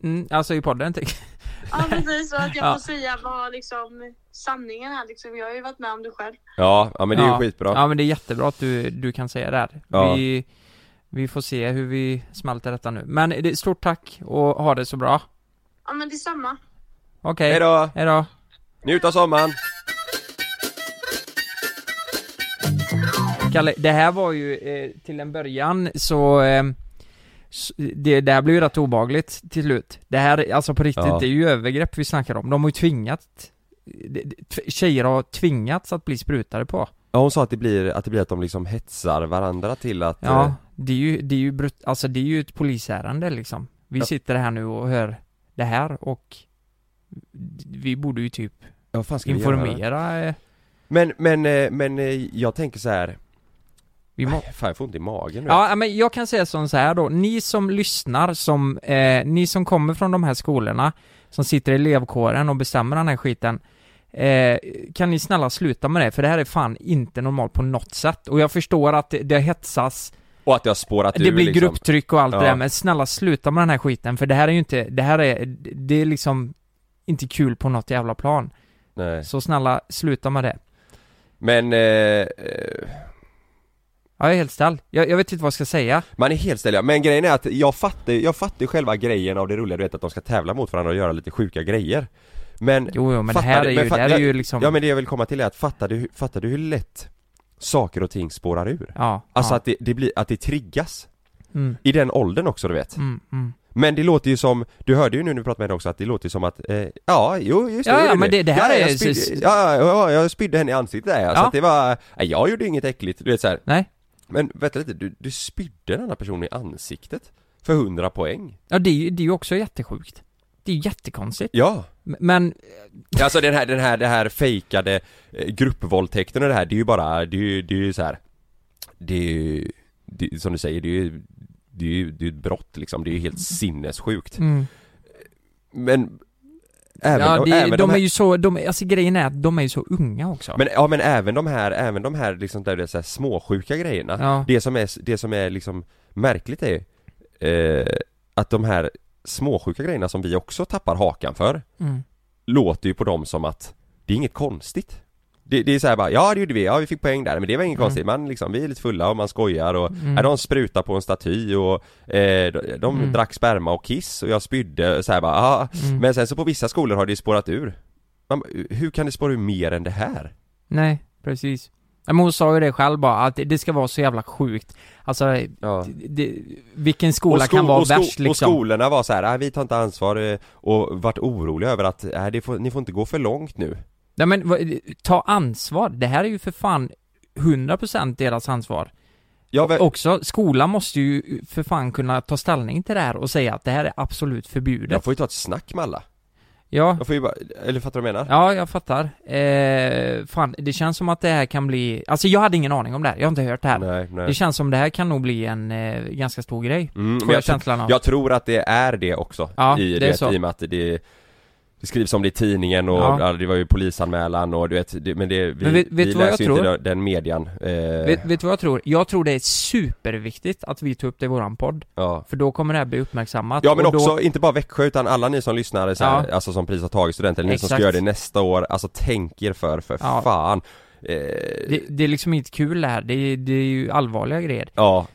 Speaker 6: Mm, alltså i podden tänker jag.
Speaker 8: Ja, precis. Och att jag
Speaker 6: Ja.
Speaker 8: får säga vad liksom, sanningen är. Liksom. Jag har ju varit med om det själv.
Speaker 4: Ja, ja men det är ju
Speaker 6: Ja.
Speaker 4: skitbra
Speaker 6: Ja men det är jättebra att du, du kan säga det här.
Speaker 4: Ja.
Speaker 6: Vi, vi får se hur vi smälter detta nu. Men det, stort tack och ha det så bra.
Speaker 8: Ja, men detsamma.
Speaker 6: Okej.
Speaker 4: Hejdå.
Speaker 6: Hejdå.
Speaker 4: Njut av sommaren!
Speaker 6: Kalle, det här var ju eh, till en början så eh, s- det, det här blev ju rätt obagligt till slut. Det här, alltså på riktigt,
Speaker 4: Ja.
Speaker 6: det är ju övergrepp vi snackar om. De har ju tvingat, det- det- tv- tjejer har tvingats att bli sprutade på.
Speaker 4: Ja hon sa att det blir, att det blir att de liksom hetsar varandra till att eh,
Speaker 6: Ja, det är ju, det är ju brut- alltså det är ju ett polisärende liksom. Vi
Speaker 4: Ja.
Speaker 6: sitter här nu och hör det här och vi borde ju typ
Speaker 4: Ja, vad fan ska vi
Speaker 6: informera. eh,
Speaker 4: Men, men, eh, men eh, jag tänker så här
Speaker 6: Vi må...
Speaker 4: Fan jag får ont i magen nu
Speaker 6: Ja, men jag kan säga som så här då, ni som lyssnar, som, eh, ni som kommer från de här skolorna, som sitter i elevkåren och bestämmer den här skiten, eh, kan ni snälla sluta med det, för det här är fan inte normalt på något sätt. Och jag förstår att det, det hetsas,
Speaker 4: Och att det har spårat
Speaker 6: det
Speaker 4: ur,
Speaker 6: blir
Speaker 4: liksom.
Speaker 6: grupptryck och allt
Speaker 4: ja.
Speaker 6: det där, men snälla sluta med den här skiten, för det här är ju inte, det här är, det är liksom inte kul på något jävla plan.
Speaker 4: Nej.
Speaker 6: Så snälla, sluta med det.
Speaker 4: Men, eh, eh,
Speaker 6: Jag är helt ställd. Jag, jag vet inte vad jag ska säga.
Speaker 4: man är helt ställd ja. men grejen är att jag fattar, jag fattar ju själva grejen av det roliga du vet att de ska tävla mot varandra och göra lite sjuka grejer Men
Speaker 6: Jo, jo, men det
Speaker 4: fattar
Speaker 6: här
Speaker 4: du-
Speaker 6: är
Speaker 4: men
Speaker 6: ju-
Speaker 4: fa-
Speaker 6: det här är ju liksom-
Speaker 4: Ja men det jag vill komma till är att fattar du, fattar du hur lätt saker och ting spårar ur?
Speaker 6: Ja,
Speaker 4: Alltså
Speaker 6: ja.
Speaker 4: att det, det blir, att det triggas
Speaker 6: Mm.
Speaker 4: I den åldern också du vet
Speaker 6: Mm, mm.
Speaker 4: Men det låter ju som, du hörde ju nu när vi pratade med henne också att det låter ju som att, eh, ja jo just det,
Speaker 6: Ja,
Speaker 4: jag
Speaker 6: ja,
Speaker 4: gjorde
Speaker 6: men det- det här
Speaker 4: ja, jag
Speaker 6: är-
Speaker 4: spydde, ja, ja, ja, jag spydde henne i ansiktet där ja. så
Speaker 6: Ja.
Speaker 4: att det var, nej, jag gjorde inget äckligt, du vet såhär
Speaker 6: Nej
Speaker 4: Men vänta lite, du, du spydde en annan person i ansiktet? För 100 poäng?
Speaker 6: Ja, det är ju det är ju också jättesjukt. Det är ju jättekonstigt.
Speaker 4: Ja!
Speaker 6: M- Men,
Speaker 4: Alltså den här, den här, det här fejkade eh, gruppvåldtäkten och det här, det är ju bara, det är ju, det är ju såhär Det är ju, det, som du säger, det är ju, det är ju, det är ju ett brott liksom, det är ju helt sinnessjukt
Speaker 6: Mm.
Speaker 4: Men Även,
Speaker 6: ja,
Speaker 4: de-
Speaker 6: det,
Speaker 4: även
Speaker 6: de,
Speaker 4: här-
Speaker 6: är ju så, de, alltså grejen är att de är ju så unga också.
Speaker 4: Men, ja men även de här, även de här liksom där det är så här småsjuka grejerna
Speaker 6: Ja.
Speaker 4: Det som är, det som är liksom märkligt är ju eh, Att de här småsjuka grejerna som vi också tappar hakan för
Speaker 6: Mm.
Speaker 4: Låter ju på dem som att Det är inget konstigt Det, det är så här bara, ja det gjorde vi, ja vi fick poäng där men det var inget
Speaker 6: Mm.
Speaker 4: konstigt Man liksom, vi är lite fulla och man skojar och
Speaker 6: Mm.
Speaker 4: ja, De sprutar på en staty och eh, De, de
Speaker 6: Mm.
Speaker 4: drack sperma och kiss och jag spydde så här bara, ah.
Speaker 6: Mm.
Speaker 4: Men sen så på vissa skolor har det ju spårat ur man, bara, Hur kan det spåra ur mer än det här?
Speaker 6: Nej, precis. Ja, Men hon sa ju det själv bara, att det- det ska vara så jävla sjukt. Alltså, det, det, vilken skola
Speaker 4: Och sko-
Speaker 6: kan vara
Speaker 4: och sko-
Speaker 6: värst liksom?
Speaker 4: Och skolorna var så här, "Nej, vi tar inte ansvar eh, och vart oroliga över att, nej det får, ni får inte gå för långt nu
Speaker 6: Nej men vad- ta ansvar, det här är ju för fan 100% deras ansvar.
Speaker 4: Ja,
Speaker 6: Också, skolan måste ju för fan kunna ta ställning till det här och säga att det här är absolut förbjudet.
Speaker 4: Jag får ju ta ett snack med alla.
Speaker 6: Ja.
Speaker 4: Jag får ju bara, eller fattar du vad jag menar?
Speaker 6: Ja, jag fattar. Eh, fan, det känns som att det här kan bli... Alltså jag hade ingen aning om det här, jag har inte hört det här.
Speaker 4: Nej, nej.
Speaker 6: Det känns som det här kan nog bli en eh, ganska stor grej,
Speaker 4: Mm, men
Speaker 6: får jag,
Speaker 4: jag,
Speaker 6: känslan av.
Speaker 4: jag tror att det är det också.
Speaker 6: Ja,
Speaker 4: i,
Speaker 6: det är
Speaker 4: du vet,
Speaker 6: så.
Speaker 4: I och med att det, det skrivs om det i tidningen och
Speaker 6: Ja.
Speaker 4: ja. det var ju polisanmälan och du vet, det, men det, vi,
Speaker 6: Men vet- vet
Speaker 4: vi
Speaker 6: du vad
Speaker 4: läser
Speaker 6: jag
Speaker 4: ju
Speaker 6: tror?
Speaker 4: inte den median. Eh,
Speaker 6: Vet, vet du vad jag tror? Jag tror det är superviktigt att vi tar upp det i våran podd.
Speaker 4: Ja.
Speaker 6: För då kommer det här bli uppmärksammat.
Speaker 4: Ja men
Speaker 6: och då-
Speaker 4: också, inte bara Växjö utan alla ni som lyssnar, så här, alltså som precis har tagit studenten, ni som ska
Speaker 6: Exakt.
Speaker 4: göra det nästa år, alltså tänk er för, för
Speaker 6: Ja.
Speaker 4: fan. Eh,
Speaker 6: Det, det är liksom inte kul det här, det, är- det är ju allvarliga grejer.
Speaker 4: ja.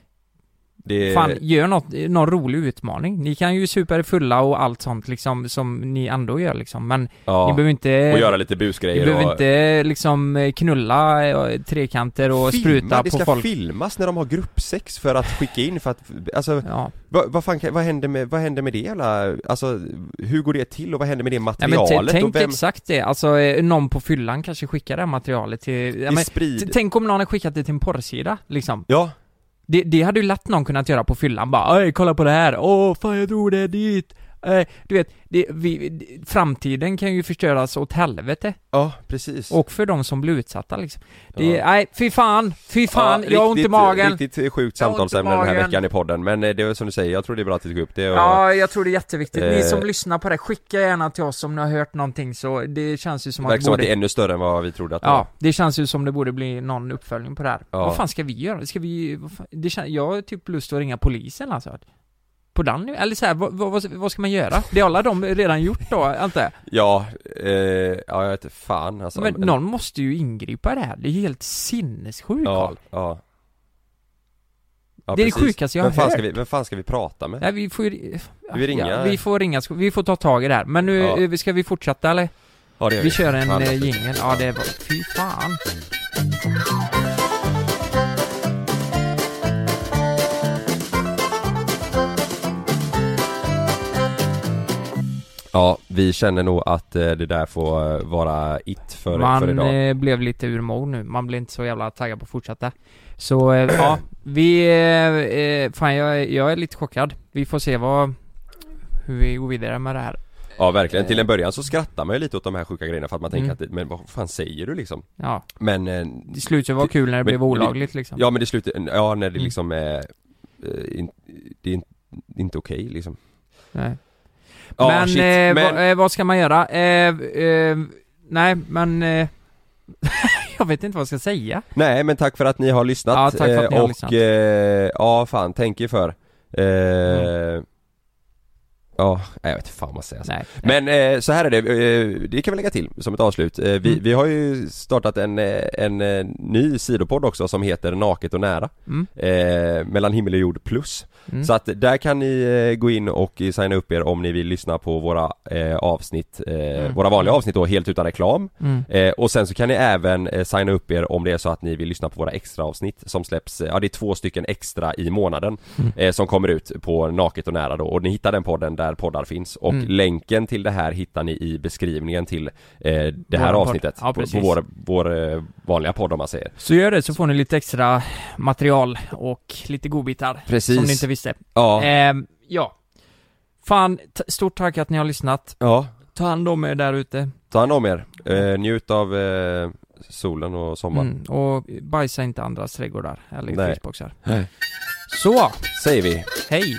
Speaker 4: Det,
Speaker 6: Fan, gör något, någon rolig utmaning. Ni kan ju supa er fulla och allt sånt liksom, som ni ändå gör liksom, men
Speaker 4: Ja.
Speaker 6: ni behöver inte...
Speaker 4: Och göra lite busgrejer
Speaker 6: Ni behöver
Speaker 4: och-
Speaker 6: inte liksom eh, knulla eh, trekanter och
Speaker 4: Filma,
Speaker 6: spruta
Speaker 4: det
Speaker 6: på
Speaker 4: ska
Speaker 6: folk.
Speaker 4: filmas när de har gruppsex för att skicka in för att, alltså, vad, vad fan, kan- vad händer med, vad händer med det jävla, alltså, hur går det till och vad händer med det
Speaker 6: Nej, men
Speaker 4: materialet?
Speaker 6: t- tänk
Speaker 4: och vem,
Speaker 6: exakt det, alltså eh, någon på fyllan kanske skickar det här materialet till... Ja, men,
Speaker 4: sprid-
Speaker 6: t- tänk om någon har skickat det till en porrsida, liksom.
Speaker 4: Ja.
Speaker 6: Det, det hade ju lätt någon kunnat göra på fyllan, bara Oj, kolla på det här, åh fan jag drog det dit. Eh, du vet, det, vi, det- framtiden kan ju förstöras åt helvete.
Speaker 4: Ja, precis.
Speaker 6: Och för de som blir utsatta liksom. Det, Nej, fy fan, fy fan,
Speaker 4: Ja,
Speaker 6: jag har ont i
Speaker 4: riktigt-
Speaker 6: magen.
Speaker 4: Riktigt sjukt
Speaker 6: Jag har ont i
Speaker 4: samtalsämne den här
Speaker 6: magen.
Speaker 4: veckan i podden, men eh, det är som du säger, jag tror det är bra att vi tog upp det och,
Speaker 6: Ja, jag tror det är jätteviktigt. Ni
Speaker 4: Eh,
Speaker 6: som lyssnar på det, skicka gärna till oss om ni har hört någonting så det känns ju som
Speaker 4: Det
Speaker 6: att
Speaker 4: verkar
Speaker 6: det
Speaker 4: som att det är
Speaker 6: borde...
Speaker 4: ännu större än vad vi trodde att det
Speaker 6: Ja,
Speaker 4: var.
Speaker 6: det känns ju som det borde bli någon uppföljning på det här.
Speaker 4: Ja.
Speaker 6: Vad fan ska vi göra? Ska vi... Vad fan, det kän... Jag har typ lust att ringa polisen alltså. På den nu? Eller så här, vad, vad, vad ska man göra? Det har alla de redan gjort då, antar jag?
Speaker 4: Ja, eh, ja jag vet fan alltså.
Speaker 6: Men någon måste ju ingripa i det här. Det är ju helt sinnessjukt,
Speaker 4: ja,
Speaker 6: Karl.
Speaker 4: ja.
Speaker 6: Det är det sjukaste jag har
Speaker 4: vem fan Ska
Speaker 6: hört.
Speaker 4: vi, vem fan ska vi prata med?
Speaker 6: Nej, vi får ju...
Speaker 4: Vi ringer.
Speaker 6: Ja, vi får ringa, vi får ta tag i det här. Men nu,
Speaker 4: Ja.
Speaker 6: eh, ska vi fortsätta eller?
Speaker 4: Ja, det gör
Speaker 6: vi.
Speaker 4: vi.
Speaker 6: kör en
Speaker 4: Fan.
Speaker 6: eh, jingel. Ja, det var... Fy fan.
Speaker 4: Ja, vi känner nog att eh, det där får eh, vara it för,
Speaker 6: man
Speaker 4: för idag.
Speaker 6: eh, blev lite ur mode nu, man blev inte så jävla taggad på att fortsätta. Så eh, ja, vi... eh, Eh, fan jag, jag är lite chockad. Vi får se vad... Hur vi går vidare med det här.
Speaker 4: Ja verkligen, till en början så skrattar man ju lite åt de här sjuka grejerna för att man tänker
Speaker 6: eh. Mm.
Speaker 4: att, det- men vad fan säger du liksom?
Speaker 6: Ja.
Speaker 4: Men... Eh,
Speaker 6: Det slutade vara kul när det
Speaker 4: men-
Speaker 6: blev olagligt, liksom.
Speaker 4: Ja men det slutar, ja när det
Speaker 6: Mm.
Speaker 4: liksom är, eh, in, det är in, inte okej liksom
Speaker 6: Nej.
Speaker 4: Ja,
Speaker 6: men
Speaker 4: shit,
Speaker 6: eh,
Speaker 4: men-
Speaker 6: Vad, eh, vad ska man göra? Eh, eh, nej, men... Eh, jag vet inte vad jag ska säga.
Speaker 4: Nej men tack för att ni har lyssnat
Speaker 6: Ja, tack för att ni
Speaker 4: Eh,
Speaker 6: har
Speaker 4: och,
Speaker 6: lyssnat.
Speaker 4: eh, ja fan, tänk er för eh, Ja, nej, jag vet inte fan vad man säger alltså.
Speaker 6: Mm. Nej,
Speaker 4: Men eh, så här är det, eh, det kan vi lägga till som ett avslut eh, vi,
Speaker 6: Mm.
Speaker 4: vi har ju startat en, eh, en eh, ny sidopodd också som heter Naket och nära
Speaker 6: Mm.
Speaker 4: eh, Mellan himmel och jord plus
Speaker 6: Mm.
Speaker 4: Så att där kan ni eh, gå in och eh, signa upp er om ni vill lyssna på våra eh, avsnitt eh, Våra vanliga avsnitt då, helt utan reklam
Speaker 6: Mm.
Speaker 4: Eh, och sen så kan ni även eh, signa upp er om det är så att ni vill lyssna på våra extra avsnitt som släpps, eh, ja det är två stycken extra i månaden
Speaker 6: Mm.
Speaker 4: eh, som kommer ut på Naket och nära då och ni hittar den podden där poddar finns och
Speaker 6: Mm.
Speaker 4: länken till det här hittar ni i beskrivningen till eh, det här
Speaker 6: Våran podd.
Speaker 4: avsnittet
Speaker 6: Ja,
Speaker 4: på, på
Speaker 6: precis.
Speaker 4: vår, vår eh, vanliga podd om man säger.
Speaker 6: Så gör det så får ni lite extra material och lite godbitar.
Speaker 4: Precis.
Speaker 6: Som ni inte visste.
Speaker 4: Ja.
Speaker 6: Ehm, ja. Fan, t- stort tack att ni har lyssnat.
Speaker 4: Ja.
Speaker 6: Ta hand om er där ute.
Speaker 9: Mm.
Speaker 4: Ta hand om er, eh, njut av eh, solen och sommaren.
Speaker 6: Mm. Och bajsa inte andras trädgårdar eller
Speaker 4: Nej.
Speaker 6: frysboxar.
Speaker 4: Nej.
Speaker 6: Så!
Speaker 4: Säger vi.
Speaker 6: Hej!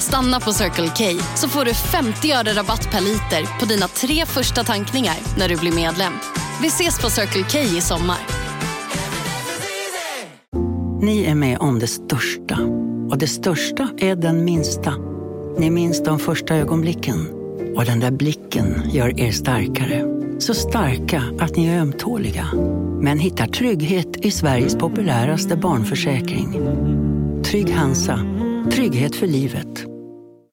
Speaker 10: Stanna på Circle K så får du 50 öre rabatt per liter på dina tre första tankningar när du blir medlem. Vi ses på Circle K i sommar.
Speaker 11: Ni är med om det största. Och det största är den minsta. Ni minns de första ögonblicken. Och den där blicken gör er starkare. Så starka att ni är ömtåliga. Men hittar trygghet i Sveriges populäraste barnförsäkring. Trygg Hansa. Trygghet för livet.